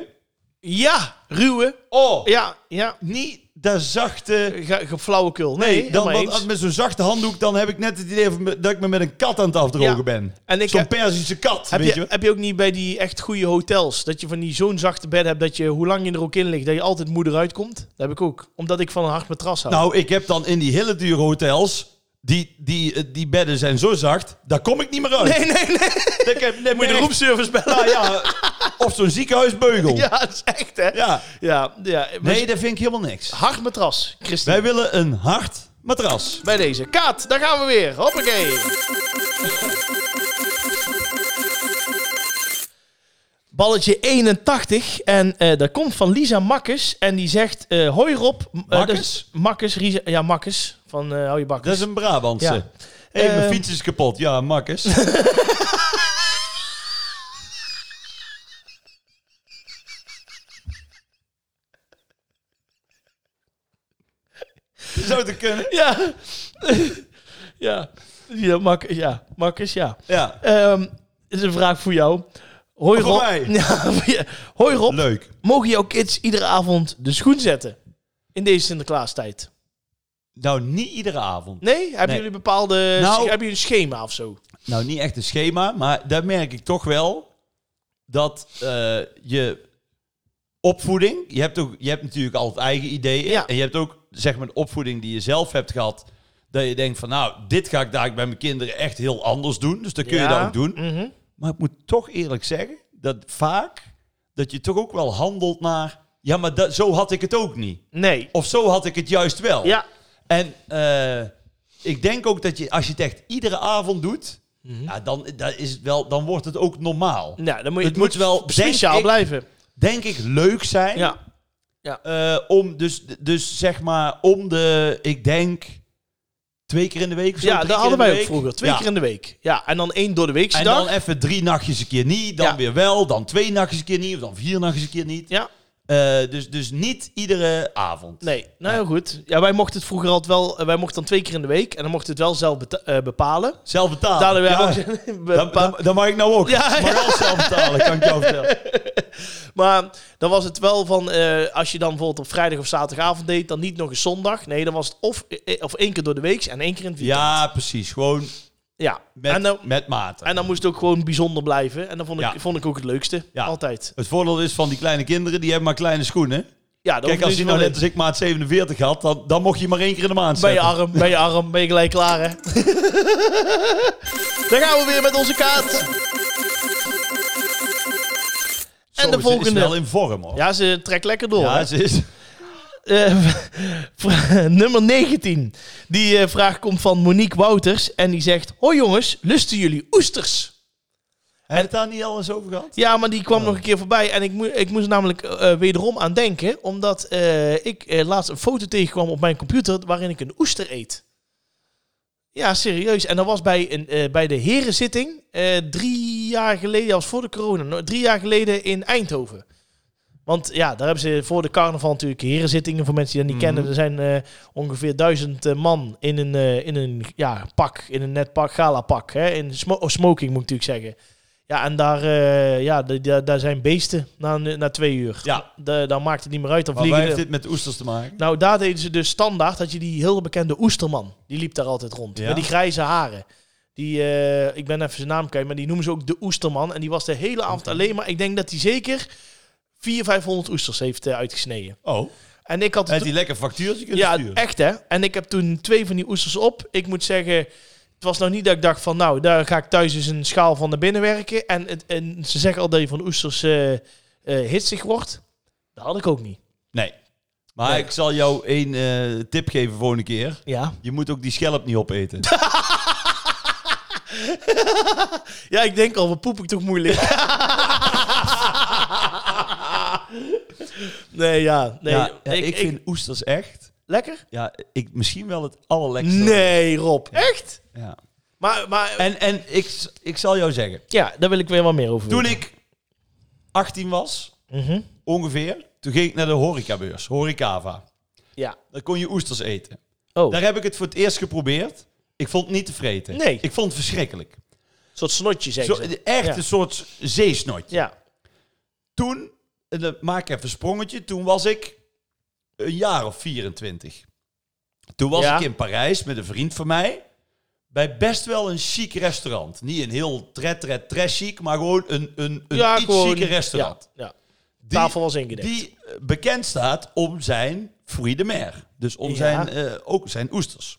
ja. ja, ruwe.
Oh,
Ja, ja.
niet dat zachte.
Ge ge- flauwekul. Nee,
Nee, dan,
helemaal
want
eens.
als- met zo'n zachte handdoek dan heb ik net het idee van me- dat ik me met een kat aan het afdrogen
Ja.
ben.
En ik
Zo'n
heb-
Perzische kat,
Heb
weet
je,
je.
heb je ook niet bij die echt goede hotels, dat je van die zo'n zachte bed hebt, dat je hoe lang je er ook in ligt, dat je altijd moeder uitkomt? Dat heb ik ook. Omdat ik van een hard matras hou.
Nou, ik heb dan in die hele dure hotels. Die, die, eh, die bedden zijn zo zacht, daar kom ik niet meer uit.
*laughs* nee, nee, nee.
Ik heb, nee,
Moet je de
echt-
roomservice bellen? *laughs*
nou ja, Of zo'n ziekenhuisbeugel. Ja.
Ja, dat is echt, hè? Ja, ja. Maar
Nee, dat vind ik helemaal niks.
Hard matras, Christine.
Wij willen een hard matras.
Bij deze. Kaat, daar gaan we weer. Hoppakee. Balletje 81. En eh, dat komt van Lisa Makkes. En die zegt... eh Hoi Rob. M- eh,
Makkes?
dat is Makkes. Risa- ja, Makkes. Van eh, Hou je bakkes.
Dat is een Brabantse.
Ja.
Hé, hey,
Ehm.
mijn fiets is *laughs* kapot. Ja, makkers. Zou te kunnen.
Ja. *laughs* ja. Ja, Makkes. Ja. Makkes, ja.
Ja,
Ehm, dit is een vraag voor jou. Hoi
Voor
Rob.
mij?
*laughs* Ja, voor je. Hoi Rob.
leuk.
Mogen jouw kids iedere avond de schoen zetten? In deze Sinterklaastijd.
Nou, niet iedere avond.
Nee? Hebben
Nee.
jullie bepaalde...
Nou-
hebben jullie een schema of zo?
Nou, niet echt een schema, maar daar merk ik toch wel dat eh, je opvoeding, je hebt, ook, je hebt natuurlijk al het eigen idee
Ja.
en je hebt ook zeg maar de opvoeding die je zelf hebt gehad. Dat je denkt van, nou, dit ga ik dadelijk bij mijn kinderen echt heel anders doen. Dus dat kun je
Ja.
dan ook doen.
Mhm.
Maar ik moet toch eerlijk zeggen dat vaak dat je toch ook wel handelt naar. Ja, maar dat, zo had ik het ook niet.
Nee.
Of zo had ik het juist wel.
Ja.
En eh, ik denk ook dat je, als je het echt iedere avond doet,
Mhm.
ja, dan, dan, is het wel, dan wordt het ook normaal.
ja Nou, dan moet je,
Het moet wel,
speciaal
denk ik-
blijven.
Denk ik leuk zijn.
Ja.
eh, om dus, dus zeg maar om de, ik denk, twee keer in de week of zo.
Ja,
drie
dat
keer in
hadden
de
wij ook
week.
vroeger. Twee
Ja.
keer in de week. Ja, en dan één door de
En
weekse
dan
dag.
even drie nachtjes een keer niet, dan
Ja.
weer wel, dan twee nachtjes een keer niet, of dan vier nachtjes een keer niet.
Ja.
Eh, dus, dus niet iedere avond.
Nee, nou heel goed. Ja, wij mochten het vroeger altijd wel... eh, Wij mochten dan twee keer in de week. En dan mochten we het wel zelf beta- eh, bepalen.
Zelf betalen.
Betalen wij
Ah, Ja,
ook- *laughs*
dan,
bepa-
dan, dan mag ik nou ook.
Ja,
maar wel zelf betalen, kan ik jou vertellen.
Maar dan was het wel van, eh, als je dan bijvoorbeeld op vrijdag of zaterdagavond deed, dan niet nog eens zondag. Nee, dan was het of, eh, of één keer door de week en één keer in het weekend.
*laughs* Ja, precies. Gewoon
Ja.
met,
en, dan,
met mate.
en dan moest het ook gewoon bijzonder blijven. En dan vond ik,
Ja.
vond ik ook het leukste.
Ja.
Altijd.
het voordeel is van die kleine kinderen, die hebben maar kleine schoenen.
Ja, dan
Kijk,
hoef
als
je
je
niet
nou
van
net als ik maat 47 had, dan, dan mocht je maar één keer in de maand
Ben je
zetten.
arm, ben je arm, ben je gelijk klaar, hè? *laughs* Daar gaan we weer met onze kaart.
Zo,
En de
ze
volgende.
is wel in vorm, hoor.
Ja, ze trekt lekker door. hè?
Ja, ze is...
Eh, *laughs* vra- nummer 19. Die eh, vraag komt van Monique Wouters. En die zegt: Hoi jongens, lusten jullie oesters?
Heb je het daar niet al eens over gehad?
Ja, maar die kwam nog een keer voorbij. En ik, mo- ik moest er namelijk eh, wederom aan denken. Omdat eh, ik eh, laatst een foto tegenkwam op mijn computer. waarin ik een oester eet. Ja, serieus. En dat was bij, een, eh, bij de herenzitting. eh, drie jaar geleden, als voor de corona. no- Drie jaar geleden in Eindhoven. Want ja, daar hebben ze voor de carnaval natuurlijk herenzittingen. Voor mensen die dat niet
Mhm.
kennen. Er zijn eh, ongeveer duizend eh, man in een, eh, in een ja, pak. In een net pak, galapak. Hè? In smo- oh, smoking moet ik natuurlijk zeggen. Ja, en daar, eh, ja, d- d- daar zijn beesten na, een- na twee uur.
Ja.
Da- dan maakt het niet meer uit. Dan
Maar waar
vliegen
heeft
de-
dit met oesters te maken?
Nou, daar deden ze dus standaard dat je die heel bekende oesterman, die liep daar altijd rond.
Ja.
Met die grijze haren. Die, eh, ik ben even zijn naam kwijt, maar die noemen ze ook de oesterman. En die was de hele avond alleen maar, ik denk dat hij zeker 400, 500 oesters heeft eh, uitgesneden.
Oh.
En ik had
Heeft
toen-
hij lekker factuurtje kunnen
ja,
sturen?
echt hè. En ik heb toen twee van die oesters op. Ik moet zeggen, het was nou niet dat ik dacht van, nou, daar ga ik thuis eens een schaal van naar binnen werken. En, het, en ze zeggen al dat je van oesters eh, eh, hitsig wordt. Dat had ik ook niet.
Nee. Maar
Nee.
ik zal jou één eh, tip geven volgende keer.
Ja.
Je moet ook die schelp niet opeten.
Ja, ik denk al, wat poep ik toch *laughs* moeilijk. nee, ja. Nee,
ja, ja,
ik, ik-
vind oesters echt...
Lekker?
Ja, ik, misschien wel het allerlekkerste.
Nee, Rob. Echt?
Ja.
Maar, maar
En, en ik, ik zal jou zeggen.
ja, daar wil ik weer wat meer over
Toen
weten.
ik 18 was,
Mhm.
ongeveer, toen ging ik naar de horecabeurs, Horecava.
Ja.
Daar kon je oesters eten.
Oh,
Daar heb ik het voor het eerst geprobeerd. Ik vond het niet tevreden.
Nee.
Ik vond het verschrikkelijk.
een soort snotje
Zo,
zeggen ze.
echt
Ja.
een soort zeesnotje.
Ja.
Toen, en dan maak ik even een sprongetje, toen was ik een jaar of 24. Toen was
Ja.
ik in Parijs met een vriend van mij. Bij best wel een chic restaurant. Niet een heel tret, tret, trash chic, maar gewoon een, een, een
ja,
iets chique restaurant.
Ja, ja.
Die-
Tafel was ingedekt.
Die eh, bekend staat om zijn fruit de mer. Dus om
Ja.
zijn, eh, ook zijn oesters.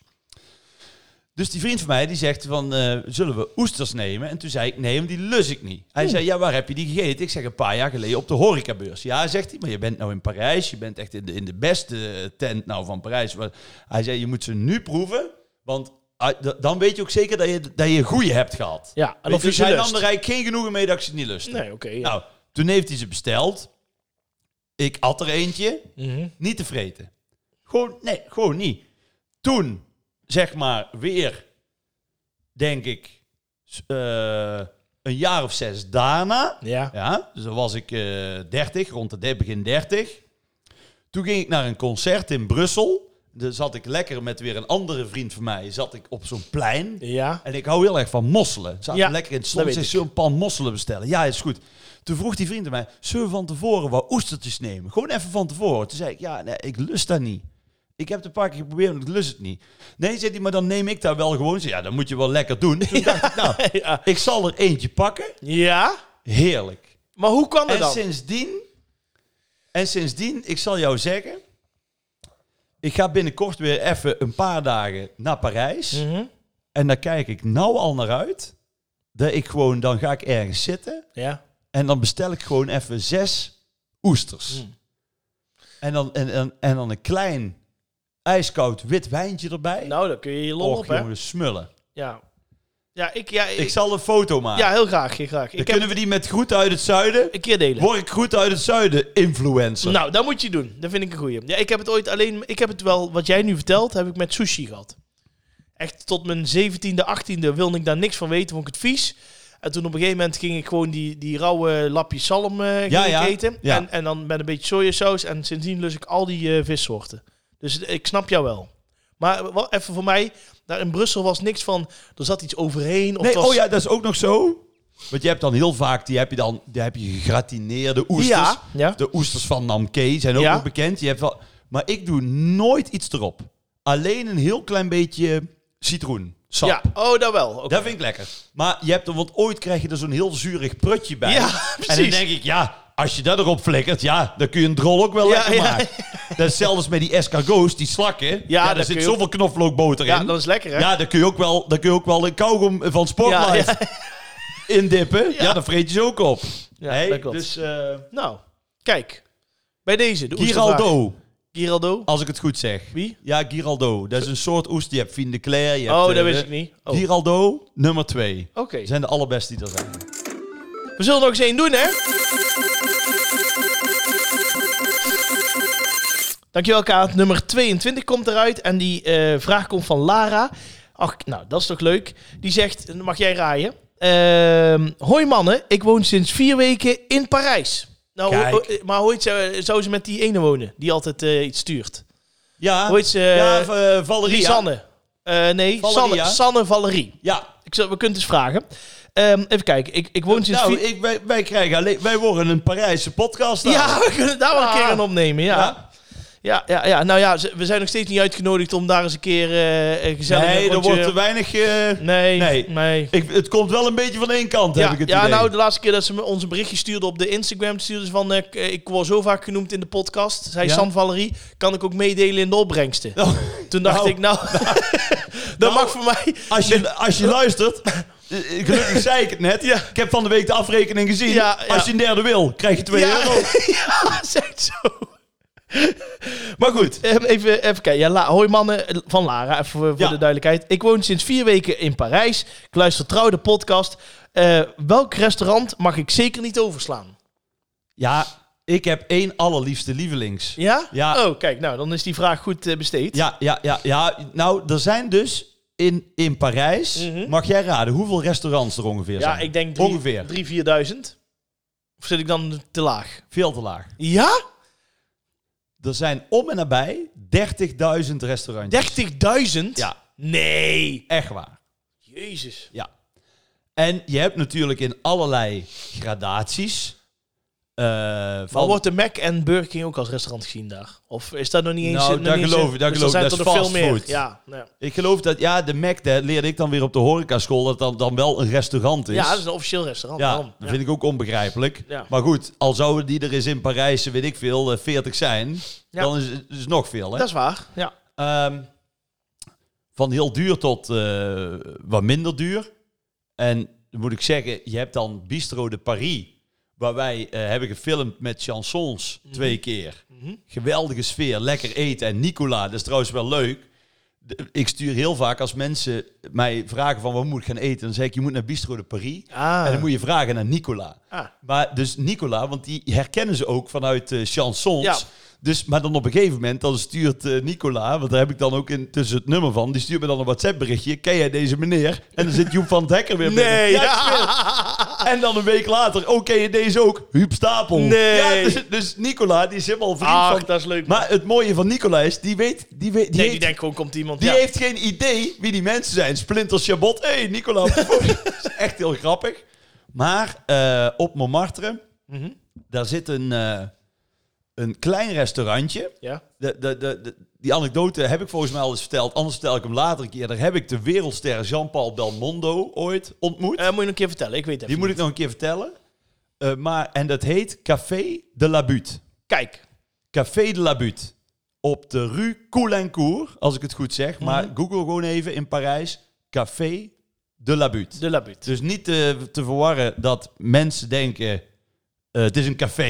Dus die vriend van mij die zegt van, eh, zullen we oesters nemen? En toen zei ik, nee, want die lus ik niet. Hij zei, ja, waar heb je die gegeten? Ik zeg, een paar jaar geleden op de horecabeurs. Ja, zegt hij, maar je bent nou in Parijs. Je bent echt in de, in de beste tent nou van Parijs. Maar Hij zei, je moet ze nu proeven, want ah, d- dan weet je ook zeker dat je, dat je een goeie hebt gehad.
ja, en
Weet
of
je,
je
dus hij
ze
nam er
lust.
eigenlijk geen genoegen mee dat ik ze niet lust.
Nee, oké. ja.
Nou, toen heeft hij ze besteld. Ik at er eentje.
Mhm.
Niet te vreten. Gewoon, nee, gewoon niet. Toen, zeg maar, weer, denk ik, s- eh, een jaar of zes daarna.
Ja.
Ja, dus dan was ik eh 30, rond de de- begin 30. Toen ging ik naar een concert in Brussel. Daar zat ik lekker met weer een andere vriend van mij. Zat ik op zo'n plein.
Ja. *laughs*
En ik hou heel erg van mosselen. Zaten
Ja,
lekker in het
dat
zon.
weet
Ze
ik.
zullen een pan mosselen bestellen. Ja, is goed. Toen vroeg die vriend aan mij, zullen we van tevoren wat oestertjes nemen? Gewoon even van tevoren. Toen zei ik, ja, nee, ik lust dat niet. Ik heb het een paar keer geprobeerd, maar ik lust het niet. Nee, zei hij, maar dan neem ik daar wel gewoon. Ik zei, ja, dan moet je wel lekker doen. Toen dacht ik, nou,
ja.
*laughs* ik zal er eentje pakken.
Ja.
Heerlijk.
Maar hoe kan dat
En
dan?
sindsdien, en sindsdien, ik zal jou zeggen, Ik ga binnenkort weer even een paar dagen naar Parijs.
Mhm.
En daar kijk ik nou al naar uit. Dat ik gewoon, dan ga ik ergens zitten.
Ja.
En dan bestel ik gewoon even zes oesters.
Mm.
En, dan, en, en, en dan een klein ijskoud wit wijntje erbij.
Nou, dan kun je je lol
Och,
op, hè?
jongen, smullen.
Ja. Ja, ik... Ja, ik,
Ik zal een foto maken.
ja, heel graag, heel graag.
dan
Ik heb
kunnen we die met groeten uit het zuiden.
een keer delen.
Word ik groeten uit het zuiden influencer.
Nou, dat moet je doen. Dat vind ik een goeie. Ja, ik heb het ooit alleen... Ik heb het wel... Wat jij nu vertelt, heb ik met sushi gehad. Echt tot mijn 17e, 18e wilde ik daar niks van weten. Vond ik het vies. En toen op een gegeven moment ging ik gewoon die, die rauwe lapje zalm eh, ging
Ja,
ik
ja.
eten.
Ja.
En, en dan met een beetje sojasaus. En sindsdien lus ik al die eh, vissoorten. Dus het- ik snap jou wel. Maar wel even voor mij, daar in Brussel was niks van, er zat iets overheen. Of het
nee,
was,
oh ja, dat is ook nog zo. Want je hebt dan heel vaak, die heb je dan, die heb je gegratineerde oesters.
Ja, ja.
De oesters van Namke zijn ook
Ja.
nog bekend. Je hebt wel, maar ik doe nooit iets erop. Alleen een heel klein beetje citroen. Sap.
Ja, oh, dat wel. Oké.
Dat vind ik lekker. Maar je hebt er, want ooit krijg je er zo'n heel zuurig prutje bij.
Ja,
en dan
precies.
denk ik, ja, als je dat erop flikkert, ja, dan kun je een drol ook wel
Ja,
lekker
ja.
maken. Dat is zelfs met die escargots, die slakken. Ja, daar
dat
zit
kun je ook-
zoveel knoflookboter
ja,
in.
dat is lekker, hè?
Ja, dan kun je ook wel, dan kun je ook wel een kauwgom van Sportlife
Ja,
*laughs* indippen. Ja. dan vreet je ze ook op.
Ja,
Hey,
dat klopt.
dus eh
Nou, kijk. Bij deze, de oestervraag.
Giraldo,
Giraldo.
als ik het goed zeg.
Wie?
Ja, Giraldo. Dat is een soort oest. Je hebt Fien de Claire. Je hebt,
Oh,
eh,
dat
de-
wist ik niet. Oh, Oké.
Giraldo, nummer twee. Zijn de allerbeste die er zijn.
We zullen nog eens één doen, hè? Dankjewel, Kaat. Nummer 22 komt eruit. En die eh, vraag komt van Lara. Ach, nou, dat is toch leuk. Die zegt, dan mag jij raaien. Ehm, Hoi mannen, ik woon sinds vier weken in Parijs. Nou,
Kijk.
ho- ho- maar ooit zou, zou ze met die ene wonen, die altijd eh, iets stuurt.
Ja,
Hoe heet ze?
ja v- eh, Valeria.
Lisanne. Eh, nee,
Valerie,
Sanne,
hè?
Sanne Valerie.
Ja.
Ik zal, we kunnen het eens vragen. Ehm, even kijken. Ik, ik woon sinds...
Nou,
vi-
ik, wij, wij, krijgen alleen, wij worden een Parijse podcast. nou.
ja, *laughs* we kunnen daar wel een keer aan opnemen. Ja. Ja.
Ah. Ja.
Ja, ja, Nou ja, ze- we zijn nog steeds niet uitgenodigd om daar eens een keer eh, een gezellig...
Nee, er
rondje-
wordt te weinig... eh,
Nee, nee.
Nee. ik, het komt wel een beetje van één kant, heb
Ja,
ik het
ja
idee.
nou, de laatste keer dat ze me ons een berichtje stuurde op de Instagram, stuurde ze van... eh, k- eh, ik word zo vaak genoemd in de podcast, zei
Ja.
San Valerie. Kan ik ook meedelen in de opbrengsten?
Nou,
Toen dacht
nou,
ik, nou, *laughs* dat
nou,
mag voor mij.
Als je, als je luistert, eh, gelukkig zei ik het net. Ik heb van de week de afrekening gezien.
Ja, ja.
Als je een derde wil, krijg je 2
ja,
euro.
*laughs* ja, zegt zo.
Maar goed.
Ehm, Even, even kijken. Ja, La- hoi mannen eh, van Lara, even voor voor
Ja.
de duidelijkheid. Ik woon sinds vier weken in Parijs. Ik luister trouw de podcast. Eh, welk restaurant mag ik zeker niet overslaan?
Ja, ik heb één allerliefste lievelings. Ja,
Ja?
Ja.
Oh, kijk, nou, dan is die vraag goed eh, besteed.
ja, ja. ja, Nou, er zijn dus in, in Parijs,
Mhm.
mag jij raden, hoeveel restaurants er ongeveer
Ja,
zijn?
ik denk drie,
Ongeveer.
drie, vierduizend. Of zit ik dan te laag?
Veel te laag.
Ja? 30.000?
Er zijn om en nabij 30.000 restaurantjes. Ja,
Nee.
echt waar.
Jezus.
Ja. En je hebt natuurlijk in allerlei gradaties. eh
Maar
van
wordt de Mac en Burger King ook als restaurant gezien daar? Of is dat nog niet eens...
Nou,
nog
dat
niet eens-
geloof ik, dat
dus
geloof
er
ik.
zijn er
Dat is
nog veel meer.
fastfood.
Ja, nou ja.
Ik geloof dat, ja, de Mac, dat leerde ik dan weer op de horecaschool, dat dan, dan wel een restaurant is.
ja, dat is een officieel restaurant.
Ja,
daarom.
dat vind ik ook onbegrijpelijk.
Ja.
Maar goed, al zouden die er eens in Parijs, weet ik veel, eh, 40 zijn,
Ja.
dan is het is het nog veel. Hè?
Dat is waar. Ja.
Ehm, van heel duur tot eh, wat minder duur. En dan moet ik zeggen, je hebt dan Bistro de Paris, waar wij eh, hebben gefilmd met chansons twee keer. Geweldige sfeer, lekker eten. En Nicola, dat is trouwens wel leuk. De- Ik stuur heel vaak als mensen mij vragen van wat moet ik gaan eten, dan zeg ik je moet naar Bistro de Paris.
Ah.
En dan moet je vragen naar Nicola.
Ah.
Maar dus Nicola, want die herkennen ze ook vanuit eh, chansons.
Ja.
Dus, maar dan op een gegeven moment, dan stuurt eh, Nicola, want daar heb ik dan ook in, tussen het nummer van, die stuurt me dan een WhatsApp-berichtje. Ken jij deze meneer? En dan zit Joep van het Hekker weer binnen. Ja, ik
Ah.
zweer het. En dan een week later, oh, ken je deze ook? Huub Stapel.
Nee.
Ja, dus, dus Nicola, die is helemaal vriend
Ach,
van...
dat is leuk.
Maar het mooie van Nicola is, die weet... Die, weet, die
nee, die
heeft-
denkt gewoon komt iemand.
die
ja.
heeft geen idee wie die mensen zijn. Splinter Chabot. Hé, hey, Nicola.
*laughs*
Dat is echt heel grappig. Maar eh, op Montmartre,
Mhm.
daar zit een, eh, een klein restaurantje.
ja.
De, de, de, de- die anekdote heb ik volgens mij al eens verteld. Anders vertel ik hem later een keer. Daar heb ik de wereldster Jean-Paul Belmondo ooit ontmoet.
Eh, moet je nog een keer vertellen. Ik weet het
die
even
moet ik
niet.
nog een keer vertellen. Eh, maar, en dat heet Café de la Butte.
Kijk.
Café de la Butte. op de Rue Coulencourt, als ik het goed zeg. Maar Google gewoon even in Parijs, Café de la Butte.
De Labut.
Dus niet te, te verwarren dat mensen denken, eh, het is een café.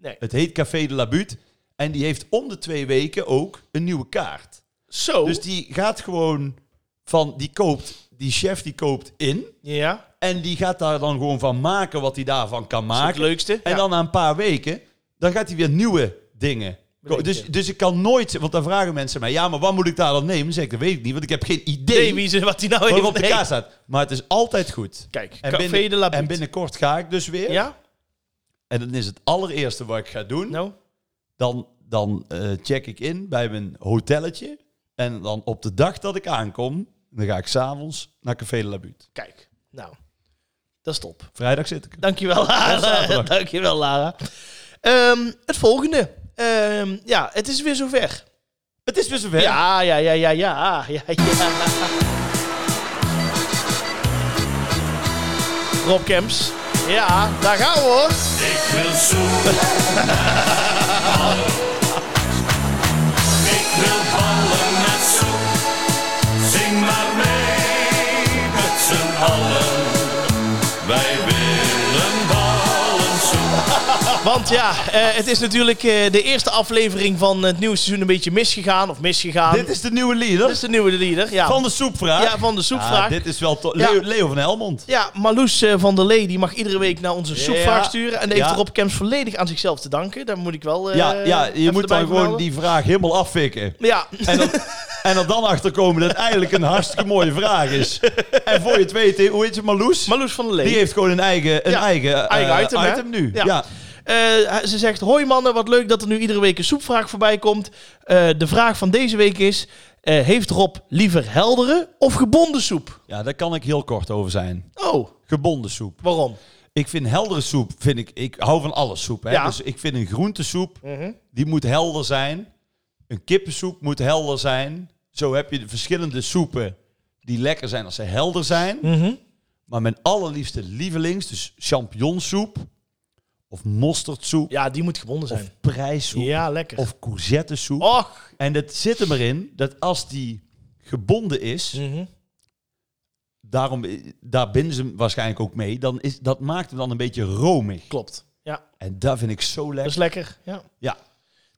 Nee.
Het heet Café de la Butte. En die heeft om de twee weken ook een nieuwe kaart.
Zo.
Dus die gaat gewoon van, die koopt, die chef die koopt in.
ja.
En die gaat daar dan gewoon van maken wat hij daarvan kan
Dat is het
maken.
leukste.
En
Ja.
dan na een paar weken, dan gaat hij weer nieuwe dingen. ko-
Bedenken.
Dus, dus ik kan nooit, want dan vragen mensen mij, ja, maar wat moet ik daar dan nemen? Dan zeg ik, dat weet ik niet, want ik heb geen idee
Nee, wie ze, wat die nou
wat
heeft.
er op de
Nee.
kaart staat. Maar het is altijd goed.
Kijk,
En,
Café
binnen-
de Labut.
en binnenkort ga ik dus weer.
Ja?
En dan is het allereerste wat ik ga doen.
Nou?
Dan, dan eh, check ik in bij mijn hotelletje. En dan op de dag dat ik aankom, dan ga ik s'avonds naar Café de Labut.
Kijk. Nou. Dat is top.
Vrijdag zit ik. er.
Dankjewel, Lara.
zaterdag.
*laughs* Dankjewel, Lara. Ehm, het volgende. Ehm, ja, het is weer zover.
Het is weer zover.
Ja, ja, ja, ja,
Ah,
ja, ja, ja. Rob Kemps. Ja, daar gaan we hoor.
Ik wil zoen. Ik wil ballen met zoen. Zing maar mee met z'n allen. Wij willen ballen zoen.
Want ja, eh, het is natuurlijk eh, de eerste aflevering van het nieuwe seizoen een beetje misgegaan. Of misgegaan.
Dit is de nieuwe leader
Dit is de nieuwe leader. Ja,
van de soepvraag.
ja, van de soepvraag.
Ah, dit is wel tof.
Ja.
Leo, Leo van Helmond.
Ja, Marloes eh, van der Lee die mag iedere week naar onze soepvraag sturen. En die heeft
Ja.
Rob Kemps volledig aan zichzelf te danken. Daar moet ik wel. eh,
ja, ja, je
even
moet
erbij
dan gewoon
vermelden.
die vraag helemaal afvikken.
Ja,
En, dan,
*laughs*
en er dan achter komen dat het eigenlijk een hartstikke mooie vraag is. En voor je het weet, hoe heet je Marloes?
Marloes van der Lee.
Die heeft gewoon een eigen, een
Ja,
eigen, eh,
eigen item, hè?
nu.
Ja.
Ja.
Eh, ze zegt: Hoi mannen, wat leuk dat er nu iedere week een soepvraag voorbij komt. Eh, de vraag van deze week is: eh, Heeft Rob liever heldere of gebonden soep?
ja, daar kan ik heel kort over zijn.
Oh,
Gebonden soep.
waarom?
Ik vind heldere soep, vind ik, ik hou van alle soep. Hè?
Ja. Mhm.
Dus ik vind een groentesoep, die moet helder zijn. Een kippensoep moet helder zijn. Zo heb je de verschillende soepen die lekker zijn als ze helder zijn.
Mhm.
Maar mijn allerliefste lievelings, dus champignonsoep of mosterdsoep
Ja, die moet gebonden zijn.
of prijssoep
ja, Oh. lekker.
of courgettesoep.
Och.
En dat zit er maar in dat als die gebonden is,
Mhm.
daarom, eh, daar binden ze hem waarschijnlijk ook mee, dan is, dat maakt hem dan een beetje romig.
Klopt. Ja,
En dat vind ik zo
dat
lekker.
is lekker. Ja,
Ja.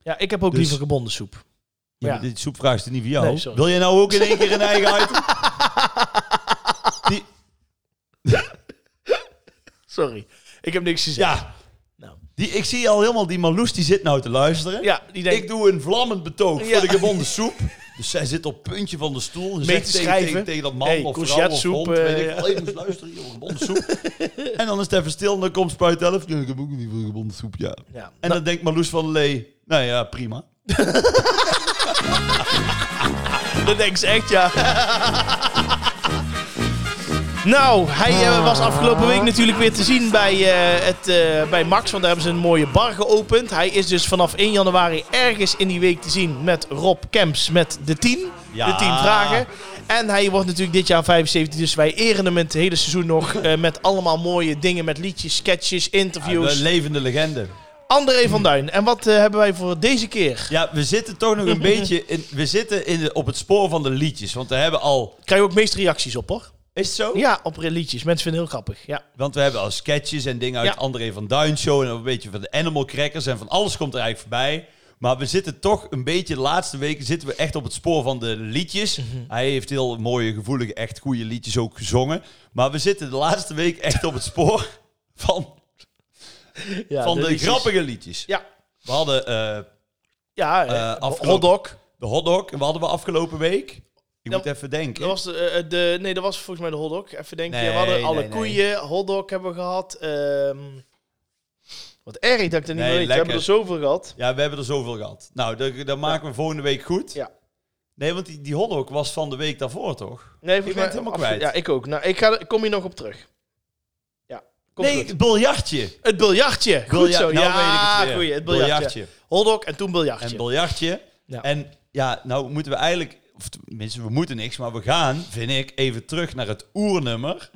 ja ik heb ook
Dus-
liever gebonden soep.
Ja,
Ja.
maar Dit soepvraag is niet voor jou.
Nee, sorry.
Wil jij nou ook in één keer een eigen
*laughs*
item? Die,
Sorry, ik heb niks gezegd.
ja,
Nou.
die, ik zie al helemaal die Marloes, die zit nou te luisteren.
Ja, die denkt,
Ik doe een vlammend betoog
Ja.
voor de gebonden soep. Dus zij zit op het puntje van de stoel. En
Mee
zegt
te
tegen,
schrijven.
tegen, tegen dat man
Hey,
of vrouw of
courgettesoep,
hond.
eh,
weet ik
ja.
wel. Hey, moest luisteren hier, gebonden soep. *laughs* en dan is het even stil en dan komt Spuit 11. Ja, ik heb ook niet veel gebonden soep, ja. En
ja.
dan denkt Marloes van Lee, nou ja, prima.
Dat denk ze echt, ja. Nou, hij eh, was afgelopen week natuurlijk weer te zien bij, eh, het, eh, bij Max, want daar hebben ze een mooie bar geopend. Hij is dus vanaf 1 januari ergens in die week te zien met Rob Kemps met de 10.
Ja.
De 10 vragen. En hij wordt natuurlijk dit jaar 75, dus wij eren hem het hele seizoen nog eh, met allemaal mooie dingen, met liedjes, sketches, interviews.
Een levende legende.
André van Duin, en wat eh, hebben wij voor deze keer?
Ja, we zitten
*laughs*
toch nog een beetje in, we zitten in de- op het spoor van de liedjes. Want we hebben al...
Krijg je ook meest reacties op hoor.
Is het zo?
Ja, op liedjes. Mensen vinden het heel grappig. Ja.
Want we hebben al sketches en dingen uit
Ja.
André van Duin Show en een beetje van de Animal Crackers en van alles komt er eigenlijk voorbij. Maar we zitten toch een beetje, de laatste weken zitten we echt op het spoor van de liedjes.
Mhm.
Hij heeft heel mooie, gevoelige, echt goede liedjes ook gezongen. Maar we zitten de laatste week echt op het spoor van,
Ja,
van de,
liedjes.
grappige liedjes.
Ja,
We hadden eh,
ja
Eh,
eh,
afgelopen-
hotdog.
de hotdog en we hadden we afgelopen week. Ik
Ja,
moet even
Dat
denken.
was de, eh, de, nee, dat was volgens mij de hotdog. Even denken,
Nee,
we hadden alle
nee, nee.
koeien, hotdog hebben we gehad. ehm, wat erg dat ik dat niet
Nee,
meer weet. We
lekker.
hebben er zoveel gehad.
Ja, we hebben er zoveel gehad. Nou, dat, dat maken we volgende week goed.
Ja.
Nee, want die, die hotdog was van de week daarvoor, toch?
Nee,
Je
volgens
bent
mij-
helemaal
absoluut.
kwijt.
Ja, ik ook. Nou, ik, ga, ik kom hier nog op terug. Ja, komt
nee,
goed.
het biljartje.
Het biljartje. Goed
Bilja-
zo.
nou
ja,
weet ik het weer.
goeie, het biljartje. Hotdog en toen biljartje.
En biljartje.
Ja.
En ja, nou moeten we eigenlijk of tenminste, we moeten niks, maar we gaan, vind ik, even terug naar het
*laughs*
oernummer.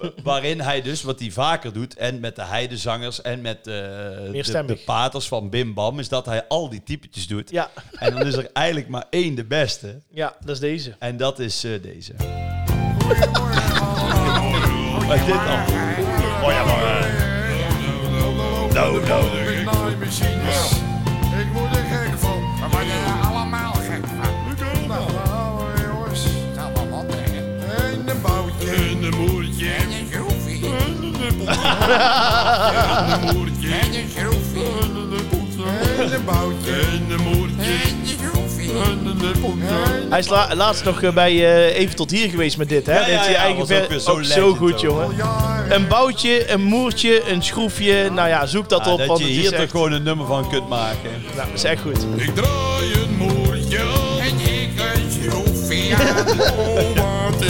wa- waarin hij dus, wat hij vaker doet, en met de heidezangers en met eh, de,
stemmig.
de paters van Bim Bam, is dat hij al die typetjes doet.
Ja,
En dan is er eigenlijk maar één de beste.
ja, dat is deze.
En dat is eh,
*laughs*
deze.
Oh,
Wat is dit dan? Oh ja, maar... eh,
Nou, nou.
Naaimachines. Ik word er gek van. We worden er allemaal gek van. Nou, nou, jongens. Zal wel wat trekken. En een boutje.
En een moertje.
En een schroefje.
En een nippeltje. En een moertje.
En een schroefje.
En een nippeltje.
En een boutje.
En een moertje.
En een schroefje.
En een nippeltje.
En
Hij is la- laatst nog eh, bij eh, Even tot hier geweest met dit, hè?
Ja,
Dat
ja,
heeft hij
ja,
eigen
was ook
ver-
weer zo
ook zo
legend
goed,
ook.
jongen.
jaren.
Een boutje, een moertje, een schroefje. Nou ja, zoek dat
Ah,
op,
dat
want
je
het
hier
is
toch
echt,
gewoon een nummer van kunt maken.
nou, dat is echt goed.
Ik draai een moertje aan.
En ik een
*laughs*
schroefje.
Oh, wat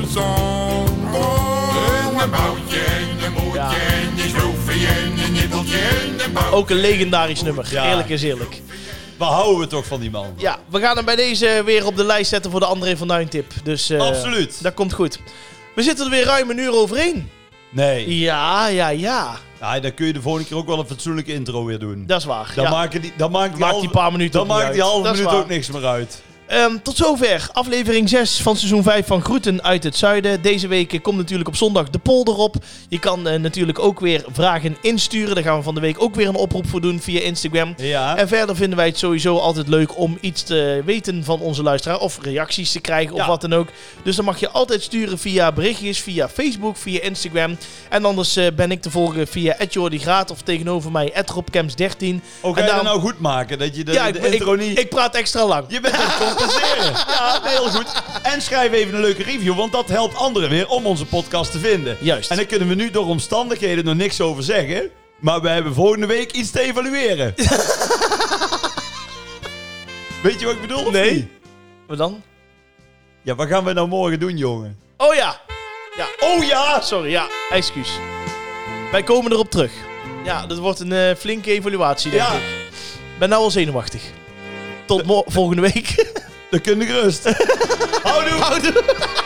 interessant.
En Oh, een boutje. En een boutje.
Ja.
En een schroefje. En een nippeltje. En een boutje.
Ook een legendarisch nummer,
Ja.
eerlijk is eerlijk.
Waar houden we toch van die man?
Ja, we gaan hem bij deze weer op de lijst zetten voor de André van Duin tip. Dus, eh,
Absoluut.
Dat komt goed. We zitten er weer ruim een uur overheen.
Nee.
Ja, ja, ja.
Ah, dan kun je de volgende keer ook wel een fatsoenlijke intro weer doen.
Dat is waar.
Dan
ja.
maken die, dan maakt die,
Maakt
halve-
die paar minuten
dan
ook niet
maakt die
uit.
halve
Dat is
minuut
waar.
ook niks meer uit.
Ehm, tot zover aflevering 6 van seizoen 5 van Groeten uit het Zuiden. Deze week eh, komt natuurlijk op zondag de polder op. Je kan eh, natuurlijk ook weer vragen insturen. Daar gaan we van de week ook weer een oproep voor doen via Instagram.
Ja.
En verder vinden wij het sowieso altijd leuk om iets te weten van onze luisteraar. Of reacties te krijgen of
Ja.
wat dan ook. Dus dan mag je altijd sturen via berichtjes, via Facebook, via Instagram. En anders eh, ben ik te volgen via Jordi Graat of tegenover mij @robcams13.
Ook ga
en
je dat
daarom-
nou goed maken? Dat je de,
Ja,
de
ik,
intro
ik,
niet...
ik praat extra lang.
Je bent aan het *laughs* compenseren. ja, heel goed. En schrijf even een leuke review, want dat helpt anderen weer om onze podcast te vinden.
Juist.
En daar kunnen we nu door omstandigheden nog niks over zeggen. Maar we hebben volgende week iets te *laughs* evalueren. Weet je wat ik bedoel? of
Nee.
niet?
Wat dan?
Ja, wat gaan we nou morgen doen, jongen?
Oh ja. Ja,
Oh ja!
sorry, ja, excuus. Wij komen erop terug. Ja, dat wordt een eh, flinke evaluatie, denk
Ja.
ik. Ben nou al zenuwachtig. Tot mo- volgende week.
Dan kun je gerust. Houdoe!
*laughs* Houdoe.